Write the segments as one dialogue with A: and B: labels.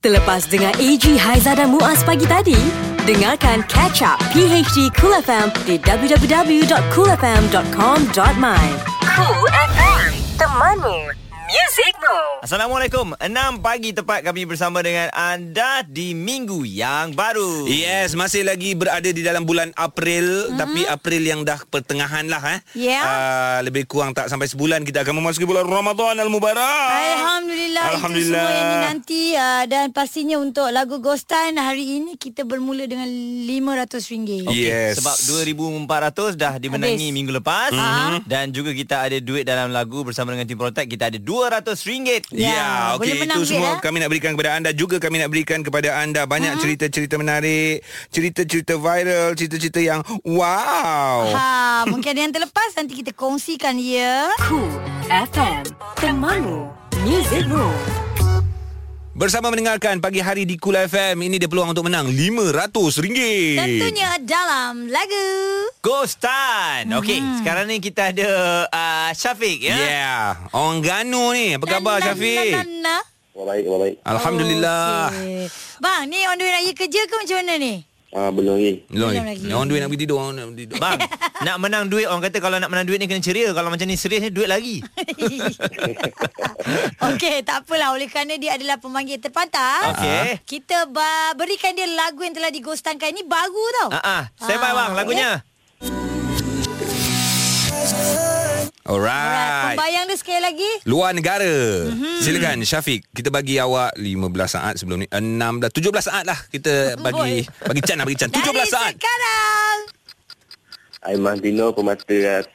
A: Terlepas dengar AG Haiza dan Muaz pagi tadi, dengarkan Catch Up PHD Cool FM di www.coolfm.com.my. Cool FM, temanmu, muzikmu.
B: Assalamualaikum 6 pagi tepat kami bersama dengan anda di minggu yang baru
C: Yes, masih lagi berada di dalam bulan
D: Mhm.
C: April mm-hmm. Tapi April yang dah pertengahan lah eh.
D: Yeah.
C: Uh, lebih kurang tak sampai sebulan kita akan memasuki bulan Ramadan Al-Mubarak
D: Alhamdulillah,
C: Alhamdulillah.
D: Itu semua yang dinanti uh, Dan pastinya untuk lagu Ghostan Hari ini kita bermula dengan RM500
C: Yeah. Yes.
B: Sebab 2,400 dah dimenangi
D: Habis. Mhm.
B: minggu lepas mm-hmm. Dan juga kita ada duit dalam lagu bersama dengan Team Protect Kita ada RM200
C: Ya,
D: Ya,
C: yeah, okey
D: boleh
C: itu
D: menang duit,
C: semua
D: eh? Mhm.
C: kami nak berikan kepada anda juga kami nak berikan kepada anda banyak mm-hmm. cerita-cerita menarik, cerita-cerita viral, cerita-cerita yang wow.
D: ha, Mungkin ada yang terlepas Nanti kita kongsikan ya
A: Cool FM, temanmu, muzikmu.
C: Bersama mendengarkan pagi hari di Kul FM ini dia peluang untuk menang RM500.
D: Tentunya dalam lagu
B: Ghost Time Okey,
D: Mhm.
B: sekarang ni kita ada uh, Syafiq ya
C: Yeah. Orang Ganu ni. Apa khabar
D: Na, na,
C: Syafiq? Ah.
D: na, na, na.
E: Wah, baik, wah, baik.
C: Oh, Alhamdulillah.
D: Okey. Bang ni on the way raya kerja ke macam mana ni?
E: Ah, belum lagi.
C: Loh,
D: Belum lagi.
C: orang duit nak pergi tidur, orang nak pergi tidur.
B: Bang, nak menang duit Orang kata kalau nak menang duit ni kena ceria Kalau macam ni serius ni duit lagi
D: Okey, tak apalah oleh kerana dia adalah pemanggil terpantas. ah,
B: Okey.
D: Kita ba- berikan dia lagu yang telah digostankan ini baru tau.
B: Ah, ah, Saya bye bang lagunya
D: Ah. Alright,
C: Alright.
D: Pembayang dia sekali lagi.
C: Luar negara. Mm-hmm. Silakan Syafiq, kita bagi awak 15 saat sebelum ni. 16 17 saat lah kita bagi bagi Chan lah, bagi Chan. 17
D: Dari
C: saat.
D: sekarang.
E: I'm Martino, pemata ras.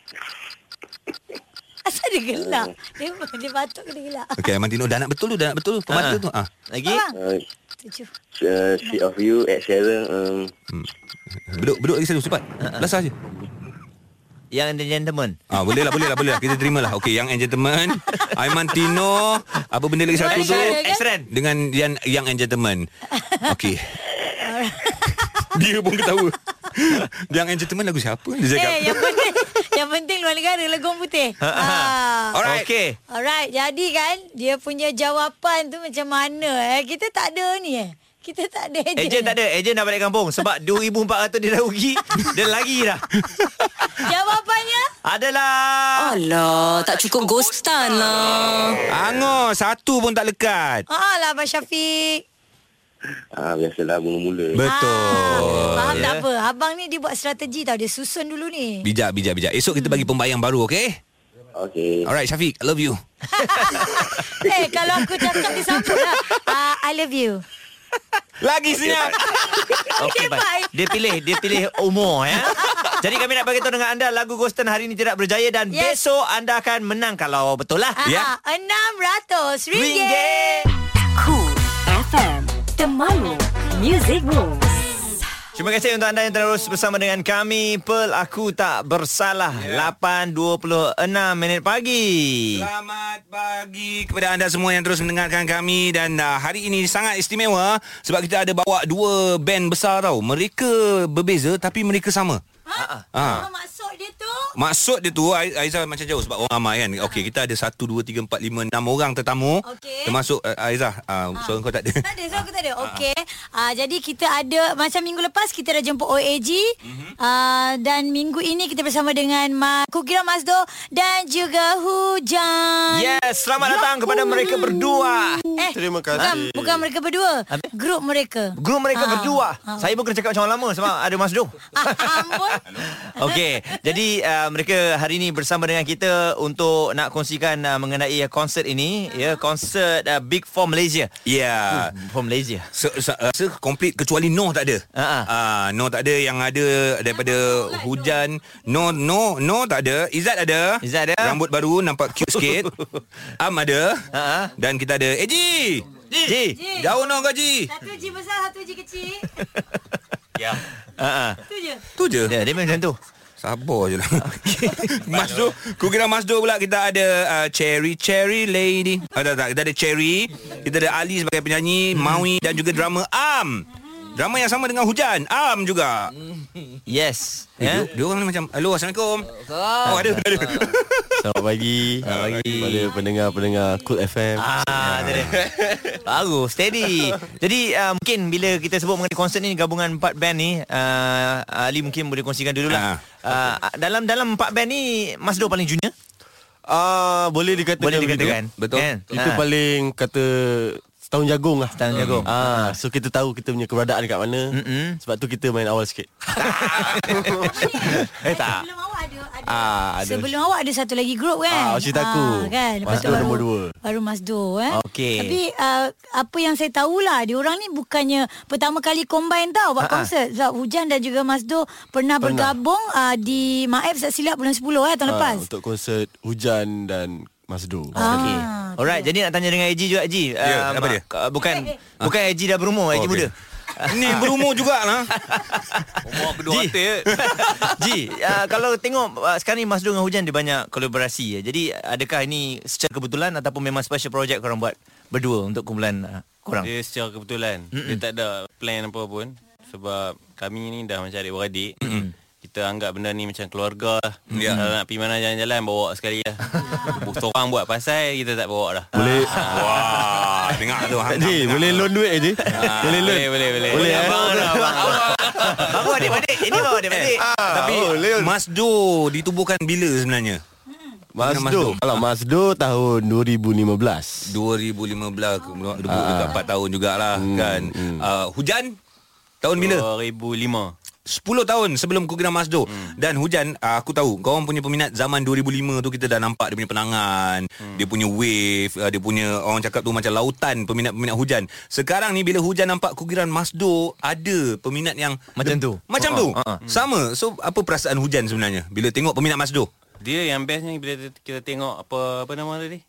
D: Asal dia gelak? Dia, dia batuk ke dia gelak?
C: Okey, Mantino dah nak betul tu, dah nak betul tu. Pemata
B: Ah, ah.
C: tu. Ah.
B: Lagi
D: Bang,
E: Uh,
D: tujuh.
E: uh, Shit of You, Ed Sheeran. Um,
C: Beduk beduk lagi satu cepat. Belasah je.
B: Yang The Gentleman
C: Ah, boleh lah, boleh lah, boleh lah. Kita terima lah. Okey, yang and gentleman, Aiman Tino, apa benda lagi satu tu?
D: Boleh, kan?
B: X-Ren
C: Dengan yang yang and gentleman. Okey. Dia pun ketawa. yang and gentleman lagu siapa? Dia cakap.
D: Eh, yang penting, yang penting luar negara legong putih. Ah.
C: ha. Alright.
B: Ha, Okey
D: Alright, jadi kan dia punya jawapan tu macam mana eh? Kita tak ada ni eh. Kita tak ada
C: Eh,
D: ejen.
B: Ejen tak ada Ejen dah balik kampung Sebab 2,400 dia dah rugi Dia lagi dah
D: Jawapannya?
B: Adalah
A: Alah, tak cukup ghostan lah.
C: Angor Oh, satu pun tak lekat.
D: Ah lah Abang Syafiq.
E: ah, biasalah, mula-mula.
C: Betul.
D: Ah.
C: Ya.
D: Faham tak apa? Abang ni dia buat strategi tau. Dia susun dulu ni.
C: Bijak, bijak, bijak. Esok kita bagi pembayang baru, okey?
E: Okay.
C: Alright, Syafiq. I love you.
D: eh, kalau aku cakap dia sambut lah. Ah, I love you.
C: Lagi senyap.
B: Okey bye. Dia pilih Dia pilih umur ya Jadi kami nak bagi tahu dengan anda Lagu Ghostan hari ini tidak berjaya Dan
D: Yes.
B: besok anda akan menang Kalau betul lah
D: Ah,
C: Ya.
D: yeah. RM600.
B: Ringgit
A: Cool FM, temanmu, muzikmu.
B: Terima kasih untuk anda yang terus bersama dengan kami Pelaku Tak Bersalah
C: Ya.
B: yeah. 8.26 minit pagi
C: Selamat pagi kepada anda semua yang terus mendengarkan kami dan uh, hari ini sangat istimewa sebab kita ada bawa dua band besar tau. Mereka berbeza tapi mereka sama.
D: Ha?
C: Ah.
D: Apa maksud dia tu?
C: Maksud dia tu Ai- Aizah macam jauh sebab orang ramai kan. Okey, kita ada 1 2 3 4 5 6 orang tetamu
D: Okey.
C: termasuk uh, Aizah. Uh, suara kau tak ada.
D: Tak ada, so aku tak ada. Okey. Ah jadi kita ada macam minggu lepas kita dah jemput OAG. Mm-hmm. Ah dan minggu ini kita bersama dengan Ma Kukira Mazdo dan juga Hujan.
B: Yes, selamat datang kepada mereka berdua
F: Ya.
D: Eh,
F: Terima kasih.
D: Bukan, bukan mereka berdua.
B: Habis?
D: Grup mereka.
B: Guru mereka
D: Ah,
B: berdua Saya pun kena cakap macam orang lama Sebab ada Mas Dong
D: Ah, ampun.
B: Okey, jadi uh, mereka hari ini bersama dengan kita untuk nak kongsikan uh, mengenai uh, konsert ini, ya,
D: Ah.
B: konsert uh, Big Four Malaysia.
C: Yeah.
B: For
C: Ya.
B: Malaysia.
C: Se, se, uh, se complete kecuali Noh tak ada.
B: Ha, ha.
C: Uh, Noh tak ada yang ada daripada hujan. Noh Noh Noh tak ada. Izzat ada.
B: Izzat ada.
C: Rambut baru nampak cute sikit. Am ada.
B: Ha, ha.
C: Dan kita ada Eji.
B: Ji.
C: Jauh Noh kau Ji.
D: Satu G besar, satu G kecil.
C: Ya.
B: Ha ah.
D: Tu je.
C: Tu je.
B: Ya, dia memang macam tu.
C: Sabar je lah. Mas Do, ku kira Mas Do pula kita ada uh, Cherry, Cherry Lady. Ah, Hmm. Oh, tak, tak, kita ada Cherry, kita ada Ali sebagai penyanyi, Maui dan juga drama Am. Drama yang sama dengan Hujan. Am juga.
B: Yes.
C: Eh,
B: Ya.
C: dia, dia orang ni macam, "Hello, Assalamualaikum." Oh, ada, ada. ada.
F: Selamat pagi. Selamat pagi. Kepada pendengar-pendengar Cool FM.
B: Ah, tu dia. Baru, steady. Jadi uh, mungkin bila kita sebut mengenai konsert ni gabungan empat band ni, uh, Ali mungkin boleh kongsikan dulu lah. Uh, dalam dalam empat band ni Mas Do paling junior?
F: Ah, boleh dikatakan
B: Boleh
F: begitu.
B: dikatakan.
C: Betul.
B: Kan?
F: Itu
B: Ah.
F: paling kata setahun jagung lah.
B: Setahun jagung.
F: Ah, so kita tahu kita punya keberadaan kat mana.
B: Mm-mm.
F: Sebab tu kita main awal sikit. Ah,
B: Eh, tak.
D: Sebelum awak ada, ada.
F: Ah, ada.
D: Sebelum awak ada satu lagi grup
F: Ah,
D: kan?
F: awak cerita aku.
D: kan? Lepas
F: Mas
D: tu
F: Do
D: baru,
F: nombor dua.
D: Baru Mas Do eh.
B: Okey.
D: Tapi uh, apa yang saya tahulah, diorang ni bukannya pertama kali combine tau buat konsert. Sebab Hujan dan juga Mas Do pernah, bergabung uh, di Maef tak silap bulan 10 eh tahun lepas.
F: untuk konsert Hujan dan Mas Do.
D: Ah,
B: Okey. Alright, jadi nak tanya dengan Eji juga Eji.
C: Ya,
B: Um,
C: apa dia?
B: k- Bukan
D: Eh,
B: bukan Eji dah berumur, Eji
C: okey.
B: muda.
C: Ni berumur juga lah.
B: Umur kedua eh. hati. Ji, uh, kalau tengok uh, sekarang ni Mas Do dengan Hujan dia banyak kolaborasi. Ya. Jadi adakah ini secara kebetulan ataupun memang special project korang buat berdua untuk kumpulan uh, korang?
F: Eh.
G: Dia secara kebetulan Mm-mm. Dia tak ada plan apa pun Sebab kami ni dah macam adik-beradik Kita anggap benda ni macam keluarga lah yeah. Kalau nak pergi mana jalan-jalan Bawa sekali lah Seorang buat pasal Kita tak bawa dah
F: Boleh
C: Wah, dengar tu. Hang,
F: Ji,
C: dengar.
F: boleh loan duit je
G: Ah,
F: Boleh loan
G: Boleh boleh boleh,
F: Boleh, eh?
G: Abang dah, abang, abang.
B: Baru adik-adik. Ini baru adik-adik.
C: Tapi Mas Do ditubuhkan bila sebenarnya?
F: Mas
C: Mas Do.
F: Do Kalau Mas Do tahun 2015
C: 2015 ke- dua- dua- dekat 4 tahun jugalah Ah. hmm, kan. Hmm. Uh, hujan tahun bila?
G: 2005
C: 10 tahun sebelum Kugira Masdo hmm. dan hujan ah, aku tahu kau orang punya peminat zaman 2005 tu kita dah nampak dia punya penangan hmm. dia punya wave ah, dia punya orang cakap tu macam lautan peminat-peminat hujan sekarang ni bila hujan nampak Kugiran Masdo ada peminat yang
B: Macam tu.
C: macam
B: Ha,
C: tu
B: ha, ha.
C: sama so apa perasaan hujan sebenarnya bila tengok peminat Masdo
G: Dia yang bestnya Bila kita- kita tengok Apa apa nama tadi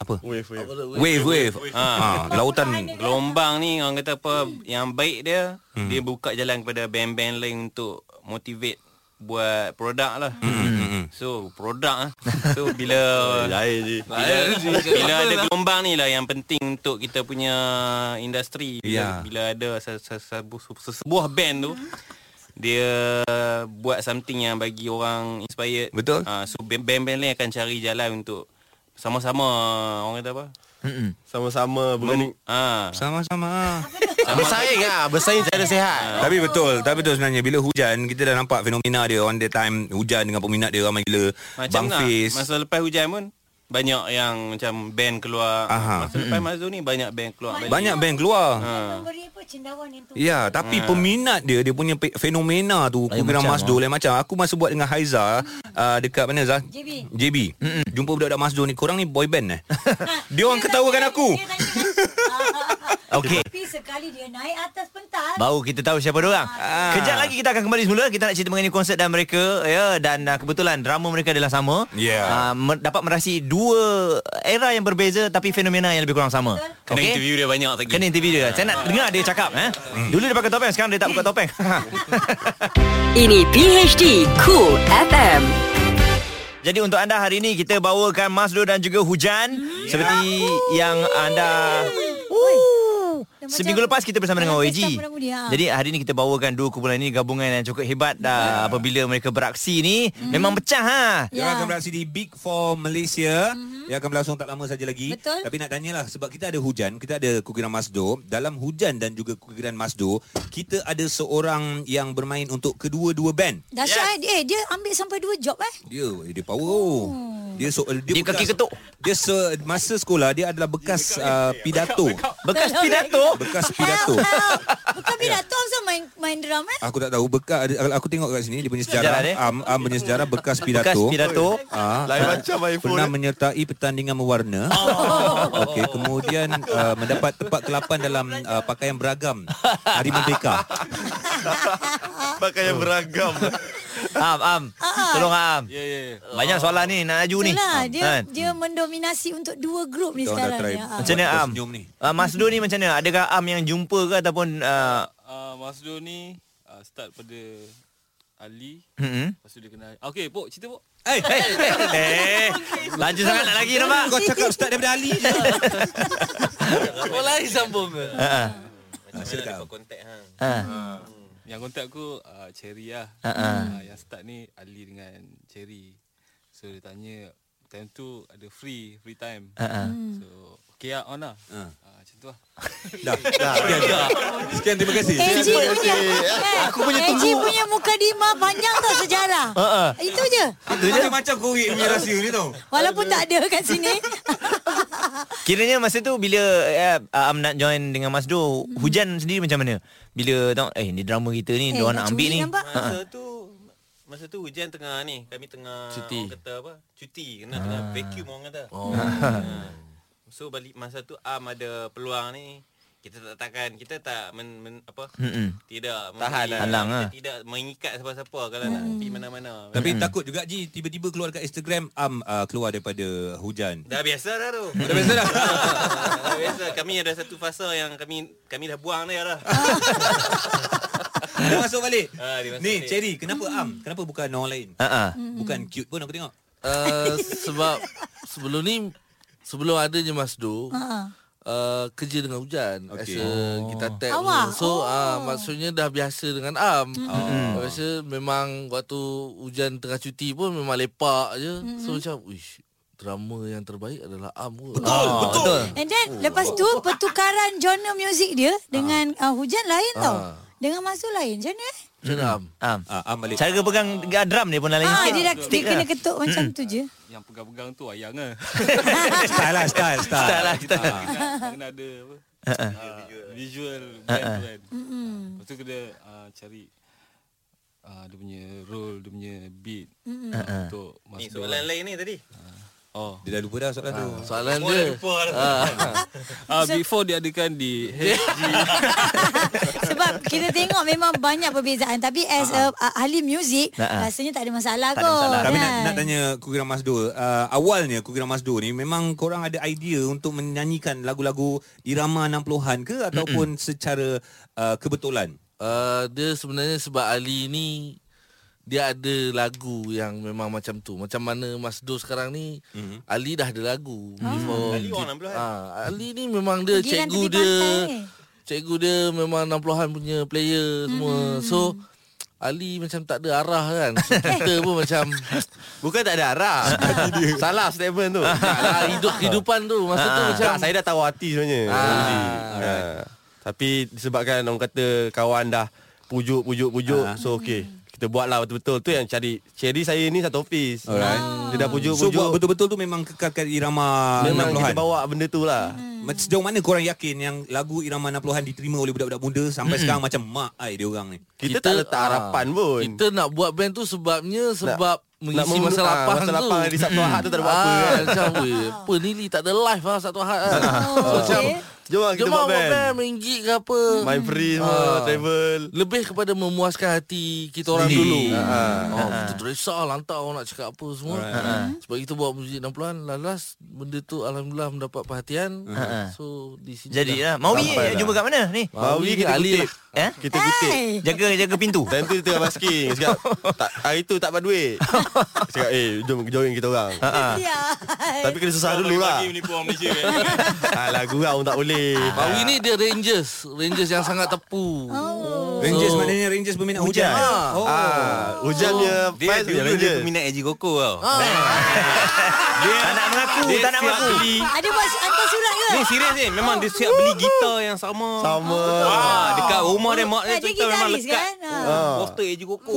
C: apa wave wave wave, Ah, lautan
G: Gelombang ni Orang kata apa Yang baik dia
F: Hmm.
G: Dia buka jalan kepada Band-band lain Untuk motivate Buat produk lah
F: Hmm,
G: So produk lah So bila
F: Lain je
G: Bila, bila ada gelombang ni lah yang penting untuk kita punya industri.
C: Ya.
G: Bila, bila ada se- se- sebu- sesebuah band tu dia buat something yang bagi orang inspired.
C: Betul.
G: Ah, so band- band-band lain akan cari jalan untuk sama-sama orang kata apa?
F: Hmm. Sama-sama berani
G: Ah.
C: sama-sama
B: Eh,
F: Bersaing lah Bersaing secara sehat
C: Tapi betul Tapi betul sebenarnya Bila hujan Kita dah nampak fenomena dia On the time Hujan dengan peminat dia Ramai gila
G: Macam
C: Bang
G: lah
C: Fiz
G: Masa lepas hujan pun Banyak yang macam band keluar
C: Aha.
G: Masa lepas Mazu ni Banyak band keluar balik.
C: Banyak band keluar ha.
D: Memberi apa cendawan yang tu.
C: Ya Tapi
G: Ha.
C: peminat dia Dia punya pe- fenomena tu
B: Lain
C: Kugira
B: macam, ha.
C: Masdo Lain macam Aku masa buat dengan Haiza uh, Dekat mana Zah?
D: JB.
C: JB Mm-mm. Jumpa budak-budak Masdo ni Korang ni boy band eh Dia
D: Dia
C: orang ketawakan
D: tanya-
C: aku
D: dia tanya-
B: Okey.
D: ah. Tapi sekali dia naik atas pentas.
B: Baru kita tahu siapa dorang. Ah. Kejap lagi kita akan kembali semula. Kita nak cerita mengenai konsert dan mereka. Ya, dan uh, kebetulan drama mereka adalah sama.
C: Yeah.
B: Ah, mer- dapat merasi dua era yang berbeza tapi fenomena yang lebih kurang sama.
G: Kena okay. interview dia banyak lagi Hmm.
B: Kena interview dia. Saya nak dengar dia cakap. Eh? Dulu dia pakai topeng, sekarang dia tak buka topeng.
A: Ini PHD Cool FM.
B: Jadi untuk anda hari ini kita bawakan Masdo dan juga Hujan
D: Hmm.
B: yeah. seperti yang anda Seminggu lepas kita bersama dengan
D: Dalam
B: OAG.
D: pesta Perang Budi, ha.
B: Jadi hari ini kita bawakan dua kumpulan ini gabungan yang cukup hebat dah apabila mereka beraksi ni
D: Hmm.
B: memang pecah ha.
C: Dia
D: Ya. Mhm.
C: akan beraksi di Big Four Malaysia. Mm-hmm. Dia akan berlangsung tak lama saja lagi.
D: Betul.
C: Tapi nak tanyalah sebab kita ada hujan, kita ada Kukiran Masdo. Dalam hujan dan juga Kukiran Masdo, kita ada seorang yang bermain untuk kedua-dua band.
D: Dahsyat yes. eh. Dia ambil sampai dua job eh.
C: Dia dia power. Oh. Dia so, dia,
B: Dia kaki ketuk.
C: Dia se, masa sekolah dia adalah bekas uh, pidato.
B: Bekas pidato.
C: Bekas pidato.
D: Help, help. Bukan pidato pasal main main drum eh.
C: Aku tak tahu bekas aku tengok kat sini dia punya sejarah.
B: Sejarah dia?
C: Am, am punya sejarah bekas
B: Bekas
C: pidato.
B: pidato.
C: Ah,
F: Lain
C: ah,
F: macam iPhone,
C: Pernah
F: eh.
C: menyertai pertandingan mewarna. Oh. Okey, kemudian uh, mendapat tempat kelapan dalam uh, pakaian beragam Hari Merdeka.
F: Pakai yang beragam
B: Am am.
D: Ah,
B: Tolong am.
G: Ya ya ya
B: Banyak soalan ni nak laju ni.
D: Itulah lah, dia
B: Kan?
D: dia mendominasi untuk dua grup ni
C: Kita orang dah
D: sekarang
C: try
D: ni. Ha.
C: buat
B: Macam mana
C: kau
B: am?
C: senyum ni.
B: Ah, Mas Do ni macam mana? Adakah am yang jumpa ke ataupun uh,
H: Ah,
G: uh, Masdo ni uh, start pada Ali
B: Mm-mm.
G: Lepas tu dia kenal Okay Pok cerita Pok
C: Eh,
B: Eh, eh, laju sangat nak lagi nampak.
C: kau cakap start daripada Ali je.
G: Kau lain sambung ke
B: Ha.
G: Macam mana
C: silakan.
G: dapat kontak hang?
B: Ha.
H: Hmm. Yang kontak aku uh, Cherry lah
B: Ha, ha.
H: uh, Yang start ni Ali dengan Cherry So dia tanya Time tu ada free Free time
B: Ha, ha.
H: So Okay lah on lah uh.
C: Ha.
H: Uh, Macam tu lah
C: Dah. Dah. Sekian, Sekian terima kasih.
D: AG punya eh,
B: Aku punya
D: AG
B: tunggu.
D: punya muka dima panjang tau sejarah.
B: Ha.
D: Itu je.
C: Macam-macam korek punya rahsia ni tau.
D: Walaupun tak ada kat sini.
B: Kiranya masa tu bila uh, Amnat join dengan Mas Do,
D: Hmm.
B: hujan sendiri macam mana? Bila tengok eh ni drama kita ni, eh,
D: Eh,
B: dia
D: nak
B: nak ambil
D: curi
B: ni.
D: nampak?
B: Ha.
G: Masa tu Masa tu hujan tengah ni Kami tengah
H: Cuti.
G: Orang kata apa Cuti Kena tengah vacuum orang kata oh. So balik masa tu Am ada peluang ni kita tak takkan kita tak men, men apa
B: Mm-mm.
G: tidak
B: Tahan
G: memberi-
B: lah. Halang
G: kita
B: lah.
G: tidak mengikat siapa-siapa kalau nak pergi mana-mana
C: Tapi takut juga Ji tiba-tiba keluar dekat Instagram am uh, keluar daripada hujan.
G: dah biasa dah tu
C: Dah biasa dah.
G: dah biasa kami ada satu fasa yang kami kami dah buang dia dah
C: Dia masuk balik.
G: Ah, dia masuk
C: Ni
G: balik.
C: Cherry, kenapa am? Kenapa bukan orang lain?
B: Ha. ha.
C: Bukan cute pun aku tengok.
F: Uh, sebab sebelum ni sebelum adanya Mas Do,
D: Ha.
F: uh, kerja dengan hujan okay. as
C: Okey.
F: a guitar tech.
D: Awak?
F: So
D: Oh. Hmm.
F: uh, maksudnya dah biasa dengan am. Mm. Biasa memang waktu hujan tengah cuti pun memang lepak je. Mm.
D: Hmm.
F: So macam uish drama yang terbaik adalah am kot. Betul,
B: Ah, betul.
D: And then lepas tu pertukaran genre muzik dia dengan
B: Ha.
D: uh, hujan lain tau.
F: Ah.
D: Dengan Mas Tu lain. Macam mana eh?
F: Macam mana am?
B: Ha.
C: Ah, am balik.
B: Cara pegang uh, drum dia pun lain
D: Ah,
B: stick.
D: dia, dah, dia
B: Stick
D: kena
B: lah.
D: ketuk macam tu je.
H: Yang pegang-pegang tu ayang lah
C: style lah, style, style.
B: Style lah, style.
C: Ah.
H: Kena kena ada apa ah, Visual Brand tu kan Lepas tu kena ah, cari ah, Dia punya role Dia punya beat ah, Untuk
G: ni
H: masuk
G: soalan lain ni tadi
H: Oh
C: Dia dah lupa dah soalan tu.
F: Soalan
G: Oh,
F: dia.
G: dah lupa dah.
H: Ah, before diadakan di
D: Sebab kita tengok memang banyak perbezaan. Tapi as a, a ahli muzik,
B: Ah, ah.
D: rasanya tak ada masalah
B: Tak
D: tak
B: ada
D: kot.
B: masalah.
C: Kami nak,
D: kan?
C: nak tanya Kugira Masdo uh, Awalnya Kugira Masdo ni Memang korang ada idea Untuk menyanyikan lagu-lagu Irama 60-an ke Ataupun Mm-mm. secara uh, kebetulan
F: Uh, dia sebenarnya sebab Ali ni dia ada lagu yang memang macam tu. Macam mana Mas Do sekarang ni
I: Mhm.
F: mm-hmm. Ali dah ada lagu. Before
G: Ali orang 60-an.
F: Ah, Ali ni memang dia cikgu
D: Pergi Ah. tepi
F: dia.
D: pantai.
F: Cikgu dia memang 60-an punya player
D: Mhm.
F: semua. Mm-hmm. So Ali macam tak ada arah kan. So, kita pun macam
I: Bukan tak ada arah Salah statement tu
F: ah, hidup kehidupan tu masa tu macam
I: Ah. Tak, saya dah tahu hati sebenarnya
F: Ah,
I: ah. Tapi disebabkan orang kata kawan dah Pujuk, pujuk, pujuk ah. So okay Kita buat lah betul-betul Tu yang cari Cherry saya ni satu office
C: Alright.
I: Dia dah pujuk,
C: So buat
I: pujuk
C: betul-betul tu Memang kekalkan Irama
I: Memang
C: 60-an
I: kita bawa benda tu lah hmm.
C: Mac- Sejauh mana korang yakin Yang lagu Irama 60-an Diterima oleh budak-budak muda Sampai mm-hmm. sekarang macam Mak ai dia orang ni
I: Kita, tak letak
F: ah,
I: harapan pun
F: Kita nak buat band tu sebabnya sebab
I: Nak
F: mengisi masa
I: mem- ah,
F: lapang
I: Masa
F: tu.
I: lapang hari Sabtu Ahad tu tak ada apa-apa
F: ah,
I: kan Ah,
F: Macam weh, apa ni Lee tak ada live lah Satu Ahad kan
D: Oh, okay.
I: Jom lah, kita
F: Jom
I: buat
F: lah buat band
I: band
F: Main gig ke apa
I: Main free semua
F: Ah.
I: Travel Ah,
F: Lebih kepada memuaskan hati Kita orang dulu oh, Kita tak risau Lantar orang nak cakap apa semua Hmm. Sebab kita buat muzik 60-an Lalas Benda tu Alhamdulillah mendapat perhatian So di sini
B: Jadi lah. Mawi
I: Sampai lah.
B: jumpa kat mana ni?
I: Ah, Bawi kita
F: Ali
I: kutip
F: lah.
B: Eh?
I: Kita kutip
D: Hey.
B: Jaga jaga pintu.
I: Time tu dia tengah basking Cakap tak, Hari tu tak ada duit Cakap eh jom join kita orang
B: Ha.
D: Ya.
I: Ha, Tapi kena susah dulu lah
G: Bagi menipu orang Malaysia kan
I: Alah gurau tak boleh
F: Mawi ni dia Rangers Rangers yang sangat tepu
C: Rangers
F: So-
C: maknanya Rangers peminat hujan,
F: Ah.
C: Oh.
I: Ah, hujannya
G: Dia
I: Faiz
G: dulu
I: hujannya.
G: dia peminat Eji Goko tau
B: Tak nak mengaku,
G: Dia
B: tak nak
G: siap
B: mengaku.
G: beli
D: Ada buat su- hantar surat ke?
G: Ni serius ni Memang dia siap beli gitar yang sama
I: Sama
G: Wah, dekat rumah dia mak dia
D: Kat
G: cerita
D: Jiggy
G: memang
D: Daris
G: lekat. Oh.
D: kan? Ha.
I: Ah.
G: Poster Eji Goko.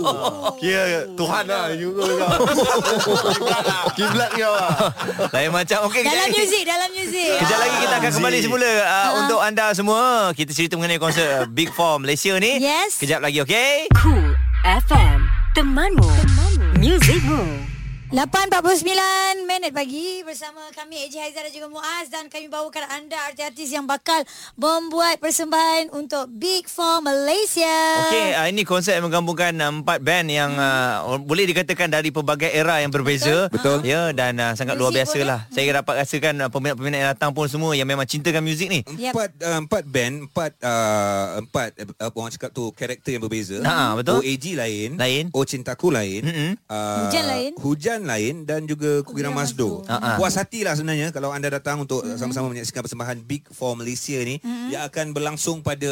I: Kira Tuhan lah juga kau. Kiblat kau lah
B: Lain macam. Okey, kejap
D: Dalam
B: lagi.
D: muzik, dalam muzik.
B: Kejap lagi kita akan kembali semula uh,
D: Ah.
B: untuk anda semua. Kita cerita mengenai konsert uh, Big Four Malaysia ni.
D: Yes.
B: Kejap lagi, okey?
A: Cool FM Temanmu Temanmu Musicmu
D: 8.49 minit pagi bersama kami AJ Haizah dan juga Muaz dan kami bawakan anda artis-artis yang bakal membuat persembahan untuk Big Four Malaysia.
B: Okey, uh, ini konsep yang menggabungkan uh, empat band yang uh, or- boleh dikatakan dari pelbagai era yang berbeza. Betul. Ya, dan uh, sangat luar
D: Muzik
B: biasa
D: pun,
B: lah. Saya dapat rasakan uh, peminat-peminat yang datang pun semua yang memang cintakan muzik ni.
D: Yep.
C: Empat uh, empat band, empat uh, empat uh, orang cakap tu karakter yang berbeza.
B: Ha, betul.
C: OAG lain,
B: Lain.
C: Oh Cintaku lain.
B: Mm-mm.
C: Uh,
D: Hujan lain.
C: Hujan Kumpulan lain dan juga Kugiran Masdo.
B: Ha-ha.
C: Puas hatilah sebenarnya kalau anda datang untuk
D: Mm-hmm.
C: sama-sama menyaksikan persembahan Big Four Malaysia ni yang akan berlangsung pada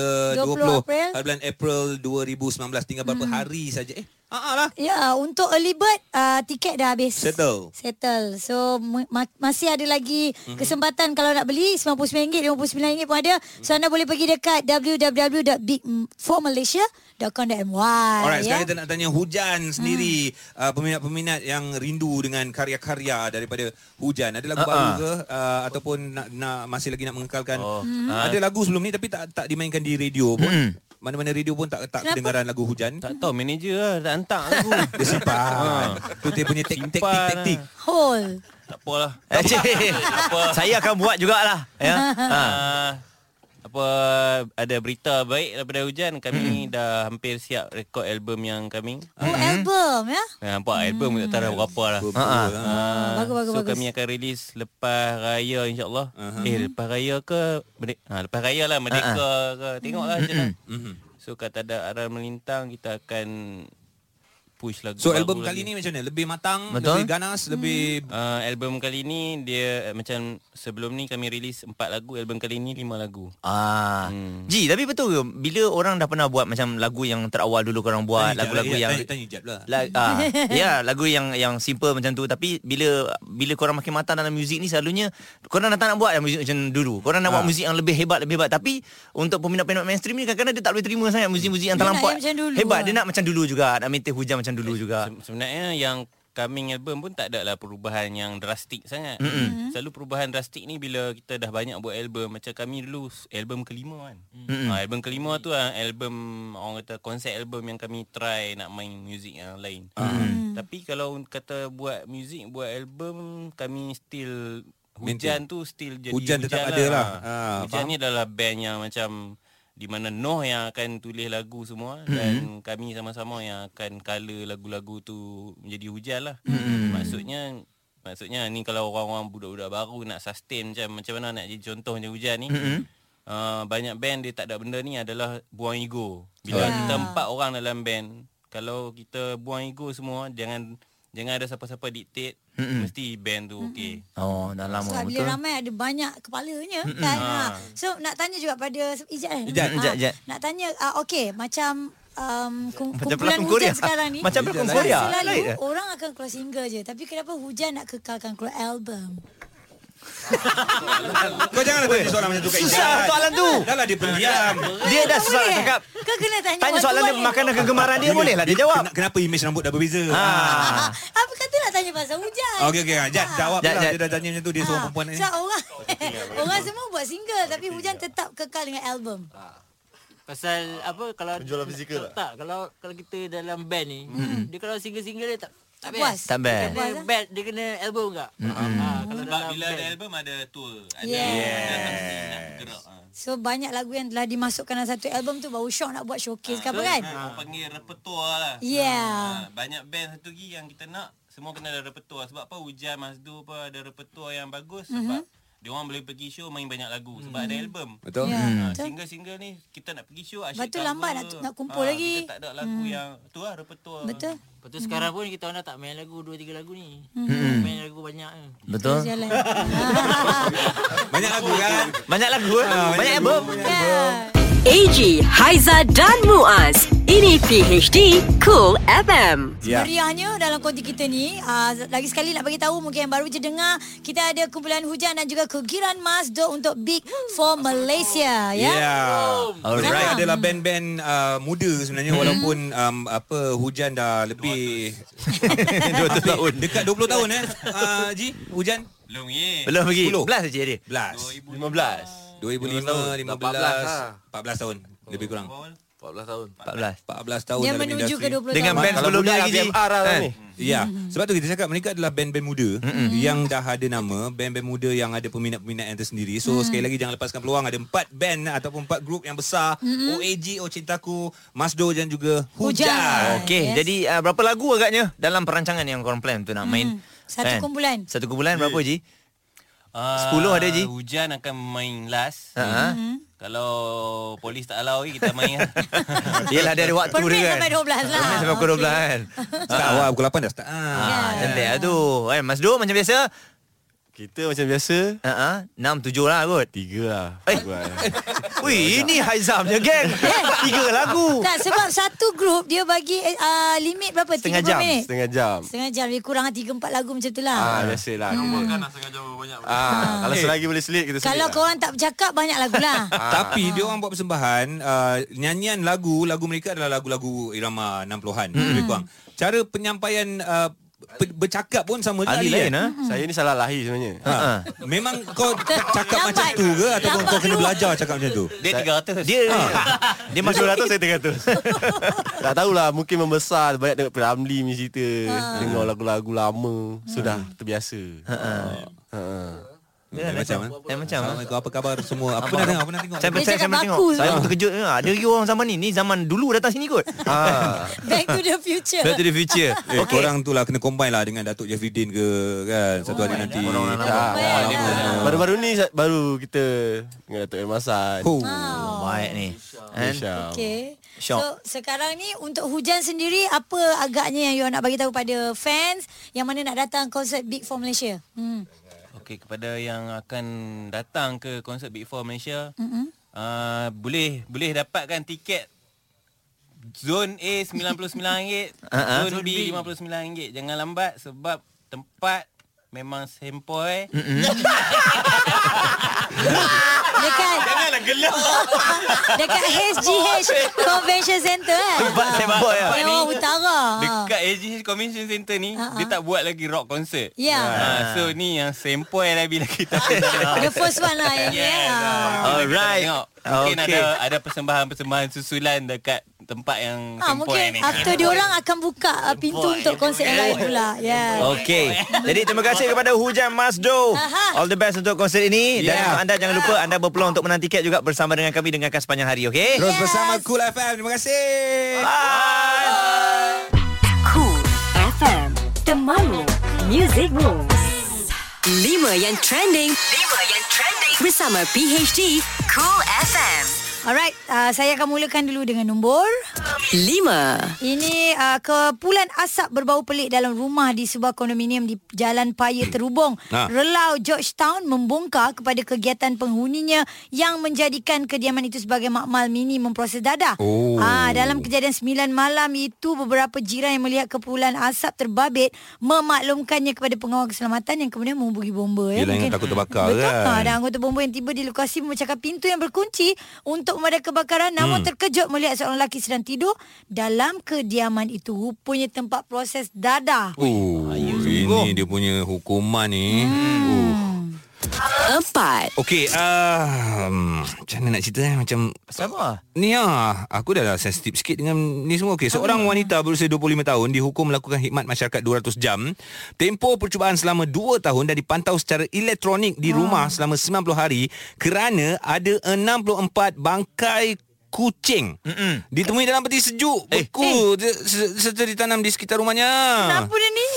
C: 20,
D: 20 Mm-hmm. April. Mm-hmm.
C: bulan April 2019 tinggal berapa hari saja. Eh, ha lah.
D: Ya, untuk early bird uh, tiket dah habis.
C: Settle. Mhm.
D: Settle. So ma- ma- masih ada lagi kesempatan kalau nak beli RM99, RM59 pun ada.
C: Mhm.
D: So anda boleh pergi dekat www.big4malaysia.com.my.
C: Alright, sekarang kita nak tanya Hujan sendiri uh, peminat-peminat yang rindu dengan karya-karya daripada Hujan. Ada lagu
B: Ha-ha.
C: baru ke uh, ataupun nak, nak masih lagi nak mengekalkan?
G: Oh. Hmm.
C: Ada lagu sebelum ni tapi tak tak dimainkan di radio pun. Mana-mana radio pun tak tak
D: Kenapa?
C: kedengaran lagu Hujan.
G: Tak tahu manager lah tak hantar aku.
C: Dia simpan. Tu dia punya taktik
G: Simpan, lah.
C: taktik taktik.
D: Hole.
G: tak apalah.
B: Cik, Saya akan buat jugalah ya.
G: Ha.
I: Ah.
G: Apa ada berita baik daripada hujan
I: Hmm.
G: kami dah hampir siap rekod album yang kami.
D: Oh,
C: Mhm.
D: album ya.
I: Hmm.
G: Ya, nampak album tak tahu dah berapa lah.
C: Ha.
G: Ah,
D: bagus, bagus,
G: so
D: bagus.
G: kami akan release lepas raya insyaallah.
C: Aha.
G: Uh-huh. Eh lepas raya ke merdeka, ha, lepas raya lah merdeka
D: Ah,
G: uh-huh. ke tengoklah macam mana.
D: Mm-hmm.
C: Mm-hmm.
G: So kata ada arah melintang kita akan push lagu
C: So
G: baru
C: album
G: lagi.
C: kali ni macam mana? Lebih matang,
B: Betul.
C: lebih ganas, lebih
G: Uh, album kali ni dia eh, macam sebelum ni kami release 4 lagu, album kali ni 5 lagu.
B: Ah.
G: Hmm.
B: Ji, tapi betul ke bila orang dah pernah buat macam lagu yang terawal dulu korang buat,
G: Ah,
C: Tanya Jap
B: lagu-lagu
C: lah,
B: yang
C: tanya, tanya jap lah.
B: La, ah, ya, lagu yang yang simple macam tu tapi bila bila korang makin matang dalam muzik ni selalunya korang dah tak nak buat yang muzik macam dulu. Korang nak buat
D: Ah.
B: muzik yang lebih hebat lebih hebat tapi untuk peminat-peminat mainstream ni kadang-kadang dia tak boleh terima sangat muzik-muzik yang
D: Dia nak
B: terlampau
D: yang macam dulu
B: hebat. Dia
D: lah. Eh,
B: nak macam dulu juga, nak minta hujan macam dulu juga.
G: Se- sebenarnya yang coming album pun tak ada lah perubahan yang drastik sangat. Mm-hmm. Selalu perubahan drastik ni bila kita dah banyak buat album. Macam kami dulu s- album kelima kan. Mm-hmm. Ha, album kelima tu lah album orang kata konsep album yang kami try nak main muzik yang lain. Mm-hmm. Tapi kalau kata buat muzik, buat album kami still hujan tu still jadi
C: Hujan tetap ada lah. Ah,
G: hujan ni adalah band yang macam di mana Noh yang akan tulis lagu semua mm-hmm. dan kami sama-sama yang akan color lagu-lagu tu menjadi hujan lah. Mm-hmm. Maksudnya maksudnya ni kalau orang-orang budak-budak baru nak sustain macam macam mana nak jadi contoh macam hujan ni. Mm-hmm. Uh, banyak band dia tak ada benda ni adalah buang ego. Bila kita empat orang dalam band, kalau kita buang ego semua jangan jangan ada siapa-siapa dictate mm-hmm. mesti band tu okey.
J: Mm-hmm.
B: Oh, dah lama
D: Sebab bila
B: betul.
D: ramai ada banyak kepalanya kan. Ha. So nak tanya juga pada Ijat kan.
B: Ah. Ijat, Ijat, Ijat.
D: Nak tanya uh, okey macam um, kum,
B: Macam
D: kumpulan
B: pelakon
D: hujan
B: Korea.
D: sekarang ni.
B: Macam pelakon
D: Sebab
B: Korea.
D: Selalu
B: Lain eh?
D: orang akan keluar single je. Tapi kenapa hujan nak kekalkan keluar album?
C: Kau janganlah tanya soalan macam tu kat
B: Susah
C: Ijaz.
B: soalan tu.
C: Dah lah dia pendiam.
B: Dia dah
D: Kau
B: susah nak
D: boleh,
B: cakap.
D: eh? Kau kena tanya.
B: Tanya soalan dia
D: wartawan
B: makanan kegemaran dia boleh lah dia jawab.
C: Kena- Kenapa imej rambut dah berbeza?
B: Ah.
D: Ah, Apa kata nak tanya pasal hujan?
B: Oh,
C: Okey okey, jap jawab
B: Jap,
C: lah
B: jap.
C: dia dah tanya macam tu dia seorang
D: Ah,
C: perempuan ni.
D: Sebab orang Orang semua buat single Tapi hujan tetap kekal dengan album
J: Pasal apa kalau
F: Ah. Penjualan fizikal
J: tak, tak kalau kalau kita dalam band ni, mm-hmm. dia kalau single-single dia tak
D: Tak
J: tak
D: puas.
J: best.
D: ah?
B: Tak best.
J: Dia kena band, dia kena album enggak? Mm-hmm. Ha, kalau
G: Sebab
J: dalam
G: bila
J: band.
G: ada album ada tour, ada
D: Yeah.
G: ada mesti nak bergerak. ah.
D: So banyak lagu yang telah dimasukkan dalam satu album tu Baru Syok nak buat showcase ke apa
B: Ah,
D: kan
G: Ha, orang panggil repertoire lah.
D: Yeah
G: Ha, banyak band satu lagi yang kita nak semua kena ada repertoire sebab apa Hujan Mazdu pun ada repertoire yang bagus sebab
D: Mhm.
G: mm-hmm. dia orang boleh pergi show main banyak lagu sebab ada album.
C: Betul?
D: Ya,
B: Hmm.
G: Ha,
D: betul.
G: single-single ni kita nak pergi show asyik Ah,
D: Lepas tu lambat nak- nak kumpul lagi.
G: Kita tak ada lagu hmm. yang tu lah repertoire.
D: Betul
J: Lepas tu sekarang pun kita orang dah tak main lagu 2 3 lagu ni. Mm-hmm. Main lagu banyak ke.
B: Betul.
D: Terus jalan
C: Banyak lagu kan?
B: Banyak lagu eh? Banyak album.
D: Ya.
A: AG, Haiza dan Muaz. Ini PHD Cool FM.
C: Ya.
D: Meriahnya dalam konti kita ni uh, Lagi sekali nak bagi tahu Mungkin yang baru je dengar Kita ada kumpulan hujan Dan juga kegiran Mazdo Untuk Big for Malaysia
C: Ya.
D: Ya
C: Mereka
B: Alright. Hmm.
C: adalah band-band uh, muda sebenarnya walaupun um, apa hujan dah lebih 200 tahun. Dekat 20 tahun eh. Uh, Ji, hujan
G: Belum ye.
B: Belum lagi.
C: 10.
B: 11 je dia.
C: 11.
F: 15
C: 2005, 15,
B: ha.
C: 14 tahun lebih kurang.
F: 14 tahun
B: 14.
C: 14 tahun
D: Dia
C: dalam
D: menuju
C: industri.
D: ke 20
B: Dengan
D: tahun
B: band
F: Kalau
B: sebelum ni
F: budak
B: lagi Ji.
F: ABR lah
B: Kan?
F: ni.
C: Ya, sebab tu kita cakap mereka adalah band-band muda mm yang dah ada nama, band-band muda yang ada peminat-peminat yang tersendiri. So sekali lagi jangan lepaskan peluang ada empat band ataupun empat grup yang besar, OAG, Oh Cintaku, Masdo dan juga Hujan.
D: Hujan.
B: Okey,
D: Yes.
B: yes. jadi uh, berapa lagu agaknya dalam perancangan yang korang plan tu nak main? Kan?
D: Satu kumpulan.
B: Satu kumpulan berapa Ji?
G: Ah,
B: 10 ada, Ji?
G: Hujan akan main last.
I: Ah.
B: Ha.
G: Kalau polis tak allow lagi kita main. lah.
B: Yelah dia ada waktu
D: Permit
B: dia kan.
D: sampai 12 lah.
B: Permit sampai pukul 12 kan.
C: Start awal pukul 8 dah start.
B: Ah, cantik lah tu. Eh, Mas Do macam biasa.
I: Kita macam biasa
B: Ha ah, 6 7 lah kot.
I: Tiga lah
B: Eh. Wih, ini Haizam je geng. Tiga lagu.
D: Tak sebab satu grup dia bagi eh, uh, limit berapa?
B: Setengah
D: 30
B: jam,
D: Minit.
I: Setengah jam
D: Setengah jam lebih kurang 3 4 lagu macam tu lah.
I: Ah, biasalah. Hmm.
H: Kan nak sengaja banyak.
I: Ah, kalau selagi boleh selit kita selit.
D: Kalau
I: lah.
D: korang tak bercakap banyak lagu lah.
C: Tapi dia orang buat persembahan uh, nyanyian lagu lagu mereka adalah lagu-lagu irama 60-an lebih kurang. Cara penyampaian uh, pe- bercakap pun sama sekali.
B: Ali lain
C: kan?
B: ah.
I: Saya ni salah lahir sebenarnya.
C: Ha. Memang kau cakap
D: Lambat.
C: macam tu ke ataupun
D: Lambat
C: kau kena
D: keluar.
C: belajar cakap macam tu?
G: Dia 300.
B: Dia ha. dia masuk
I: Masuk 200 saya 300 Tak tahulah Mungkin membesar Banyak tengok Pira Ramli punya cerita Dengar lagu-lagu lama Sudah terbiasa Ha.
B: Ya,
C: macam,
B: macam.
C: eh?
B: Eh, macam. ah.
C: Assalamualaikum apa khabar semua? Apa pernah dengar? Apa pernah tengok?
B: Saya
D: Dia
B: percaya saya
D: cakap
B: pernah tengok.
D: baku
B: Saya
D: je.
B: pun terkejut. Ha, ada lagi orang zaman ni. Ni zaman dulu datang sini kot. Ha.
D: Back to the future.
B: Back to the future.
C: Eh, okay. korang tu lah kena combine lah dengan Datuk Jeffrey Dean ke kan satu hari nanti. Orang
I: Ah,
D: Combine
I: ah,
D: lah.
I: Baru-baru ni sa- Baru kita Dengan Datuk Ilman San
C: Oh.
D: Oh.
B: Baik ni. Kan?
I: Insya Allah.
D: Okay.
B: Syok.
D: So sekarang ni untuk hujan sendiri apa agaknya yang you all nak bagi tahu pada fans yang mana nak datang konsert Big Four Malaysia? Hmm.
G: Okey kepada yang akan datang ke konsert Big Four Malaysia, mm-hmm. uh, boleh boleh dapatkan tiket Zon A RM99,
B: Ah, ah.
G: Zon B RM59. Jangan lambat sebab tempat memang sempoi.
D: Dekat Janganlah gelap. Dekat HGH
G: eh.
D: Convention Center eh.
B: Tempat sembok ya.
G: Tempat ni.
D: Dewan Utara.
G: Dekat AGH Convention Center ni,
D: Ah, ah.
G: dia tak buat lagi rock concert.
D: Ya.
G: Ah, so ni yang sempoi lah bila kita.
D: The first one lah yang ni. eh.
G: Yes. uh,
D: Ah.
B: Alright.
G: Tengok. Mungkin
B: Okay.
G: okay. ada ada persembahan-persembahan susulan dekat tempat yang
D: Ah,
G: sempoi
D: mungkin
G: ni.
D: after diorang akan buka ah, pintu untuk konsert yang lain pula. Ya.
B: Okey. Jadi terima kasih kepada Hujan Masdo.
D: Aha.
B: All the best untuk konsert ini dan
C: Yeah.
B: untuk anda jangan lupa anda berpeluang untuk menang tiket juga bersama dengan kami dengarkan sepanjang hari, okey?
C: Terus bersama Cool FM. Terima kasih.
A: Cool FM The Mamu Music Rules 5 yang trending 5 yang trending Bersama PHD Cool FM
D: Alright, ah, saya akan mulakan dulu dengan nombor
A: 5
D: Ini uh, kepulan asap berbau pelik dalam rumah di sebuah kondominium di Jalan Paya Terubong,
C: Ha.
D: Relau, Georgetown membongkar kepada kegiatan penghuninya yang menjadikan kediaman itu sebagai makmal mini memproses dadah.
C: Oh.
D: Ah, dalam kejadian 9 malam itu beberapa jiran yang melihat kepulan asap terbabit memaklumkannya kepada pengawal keselamatan yang kemudian menghubungi bomba ya.
C: Yelah,
D: Mungkin-
C: ingat takut terbakar
D: Betul
C: kan?
D: ah, Dan anggota bomba yang tiba di lokasi memecahkan pintu yang berkunci untuk memadam kebakaran namun hmm. terkejut melihat seorang lelaki sedang tidur dalam kediaman itu rupanya tempat proses dadah.
C: Oh, ini dia punya hukuman ni.
D: Hmm.
C: Oh.
A: 4
C: Okey, ah, um, macam mana nak cerita eh? Macam
B: Sama.
C: Ni ah, aku dah lah sensitif sikit dengan ni semua. Okey, seorang
D: Ah.
C: wanita berusia 25 tahun dihukum melakukan khidmat masyarakat 200 jam, tempoh percubaan selama 2 tahun dan dipantau secara elektronik
D: Ah.
C: di rumah selama 90 hari kerana ada 64 bangkai kucing Mm-mm. ditemui dalam peti sejuk beku eh. serta ditanam di sekitar rumahnya.
D: Kenapa dia ni?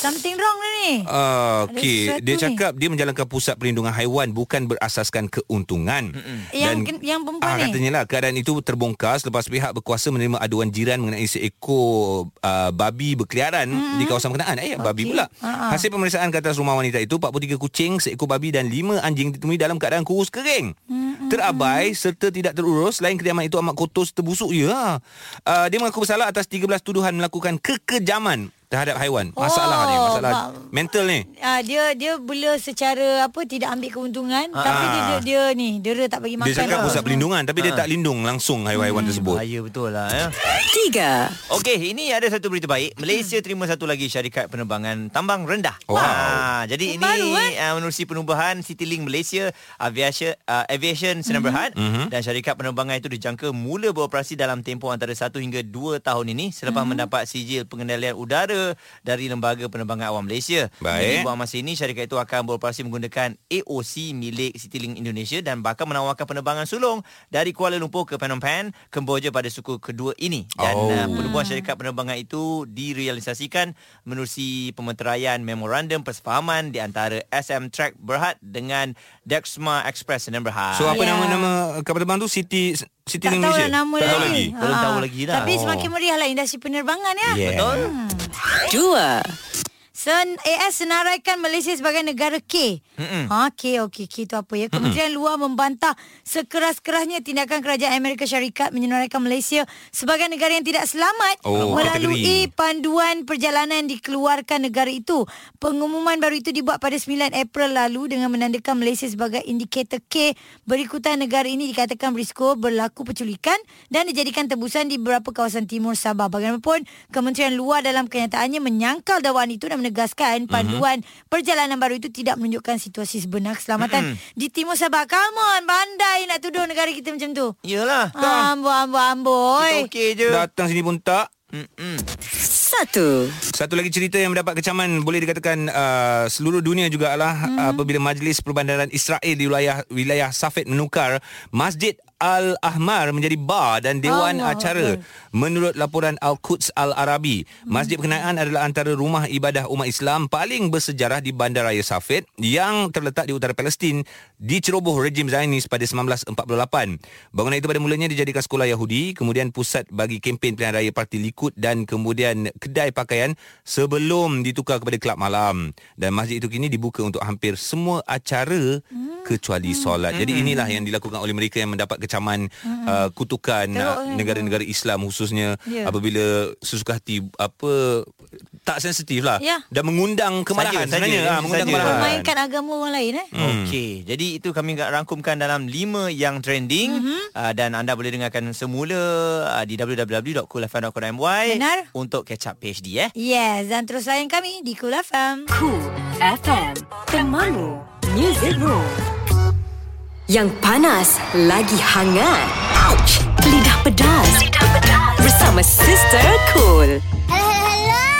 D: Something wrong dia ni.
C: Ah,
D: Ada
C: Okey,
D: sesuatu
C: dia
D: ni.
C: cakap dia menjalankan pusat perlindungan haiwan bukan berasaskan keuntungan.
D: Yang ken- yang perempuan
C: ah,
D: ni?
C: Katanya lah keadaan itu terbongkar selepas pihak berkuasa menerima aduan jiran mengenai seekor uh, babi berkeliaran di kawasan berkenaan. Eh, babi pula.
D: Ah, ah.
C: Hasil pemeriksaan ke atas rumah wanita itu 43 kucing, seekor babi dan 5 anjing ditemui dalam keadaan kurus kering. Terabai serta tidak terurus selain kediaman itu amat kotor serta busuk ya. Uh, dia mengaku bersalah atas 13 tuduhan melakukan kekejaman terhadap haiwan. Masalah ni,
D: Oh,
C: masalah
D: ba-
C: mental ni.
D: Ah, dia dia bela secara apa tidak ambil keuntungan tapi dia, dia dia ni dera tak bagi
C: Ah,
D: makan.
C: Dia cakap
D: apa Ah.
C: pusat
D: semua.
C: perlindungan tapi dia tak lindung langsung haiwan-haiwan tersebut.
B: Bahaya betul lah ya.
A: 3
B: Okey, ini ada satu berita baik. Malaysia terima satu lagi syarikat penerbangan tambang rendah.
C: Wow.
B: Ah, jadi ini
D: Baru, eh?
B: uh, menerusi penubuhan CityLink Malaysia Aviation uh, Aviation Sdn Berhad
C: Mhm.
B: dan syarikat penerbangan itu dijangka mula beroperasi dalam tempoh antara 1 hingga 2 tahun ini selepas mendapat sijil pengendalian udara Malaysia dari Lembaga Penerbangan Awam Malaysia.
C: Baik.
B: Jadi buat masa ini syarikat itu akan beroperasi menggunakan AOC milik Citilink Indonesia dan bakal menawarkan penerbangan sulung dari Kuala Lumpur ke Phnom Penh, Kemboja pada suku kedua ini. Dan
C: Oh.
B: oh. uh, penubuhan syarikat penerbangan itu direalisasikan menerusi pemeteraian memorandum persefahaman di antara SM Track Berhad dengan Dexma Express Sdn Berhad.
C: So apa
D: Ya.
C: nama-nama kapal terbang tu City City
D: Tak tahu
C: Malaysia?
D: lah nama
C: tak tahu
D: lagi.
C: lagi. Oh.
B: Belum
D: Ha.
B: tahu lagi dah.
D: Tapi semakin meriah lah industri penerbangan ya.
C: Yeah.
B: Betul?
A: Dua.
D: Sen AS senaraikan Malaysia sebagai negara K. Mm-mm. Ha K okey K itu apa ya? Kementerian Luar membantah sekeras-kerasnya tindakan kerajaan Amerika Syarikat menyenaraikan Malaysia sebagai negara yang tidak selamat
C: Oh,
D: melalui
C: kategori.
D: panduan perjalanan dikeluarkan negara itu. Pengumuman baru itu dibuat pada 9 April lalu dengan menandakan Malaysia sebagai indikator K berikutan negara ini dikatakan berisiko berlaku penculikan dan dijadikan tebusan di beberapa kawasan timur Sabah. Bagaimanapun, Kementerian Luar dalam kenyataannya menyangkal dakwaan itu dan
B: Mhm.
D: menegaskan panduan perjalanan baru itu tidak menunjukkan situasi
B: Mhm.
D: sebenar keselamatan di timur Sabah. Come on, bandai nak tuduh negara kita macam tu.
B: Yelah.
D: Amboi, amboi, amboi.
B: Kita okey je.
C: Datang sini pun tak.
A: Satu.
C: Satu lagi cerita yang mendapat kecaman boleh dikatakan uh, seluruh dunia juga adalah mm-hmm. apabila Majlis Perbandaran Israel di wilayah wilayah Safed menukar Masjid Al-Ahmar menjadi bar dan dewan
D: Allah
C: Allah acara. Menurut laporan Al-Quds Al-Arabi,
D: Mm-hmm.
C: masjid berkenaan adalah antara rumah ibadah umat Islam paling bersejarah di Bandaraya Safed yang terletak di utara Palestin diceroboh rejim Zionis pada 1948. Bangunan itu pada mulanya dijadikan sekolah Yahudi, kemudian pusat bagi kempen pilihan raya Parti Likud dan kemudian kedai pakaian sebelum ditukar kepada kelab malam. Dan masjid itu kini dibuka untuk hampir semua acara
D: Hmm.
C: kecuali solat. Jadi inilah yang dilakukan oleh mereka yang mendapat kecaman
D: Hmm.
C: uh, kutukan uh, negara-negara Islam khususnya
D: eh. Ya.
C: apabila sesuka hati apa tak sensitif lah
D: Ya.
C: dan mengundang kemarahan
B: Saja, saja,
C: sebenarnya
B: saja.
C: ha, mengundang
B: Saja.
C: kemarahan.
D: Mainkan agama orang lain eh.
B: Okey, jadi itu kami agak rangkumkan dalam 5 yang trending mm-hmm. uh, dan anda boleh dengarkan semula uh, di www.coolfm.com.my
D: Benar.
B: untuk catch up PhD eh.
D: Yes, dan terus layan kami di Cool FM.
A: Cool FM. Temanmu. Music Room. Yang panas lagi hangat. Ouch. Lidah pedas. Lidah pedas. Bersama Sister Cool.
K: Hello, hello, hello.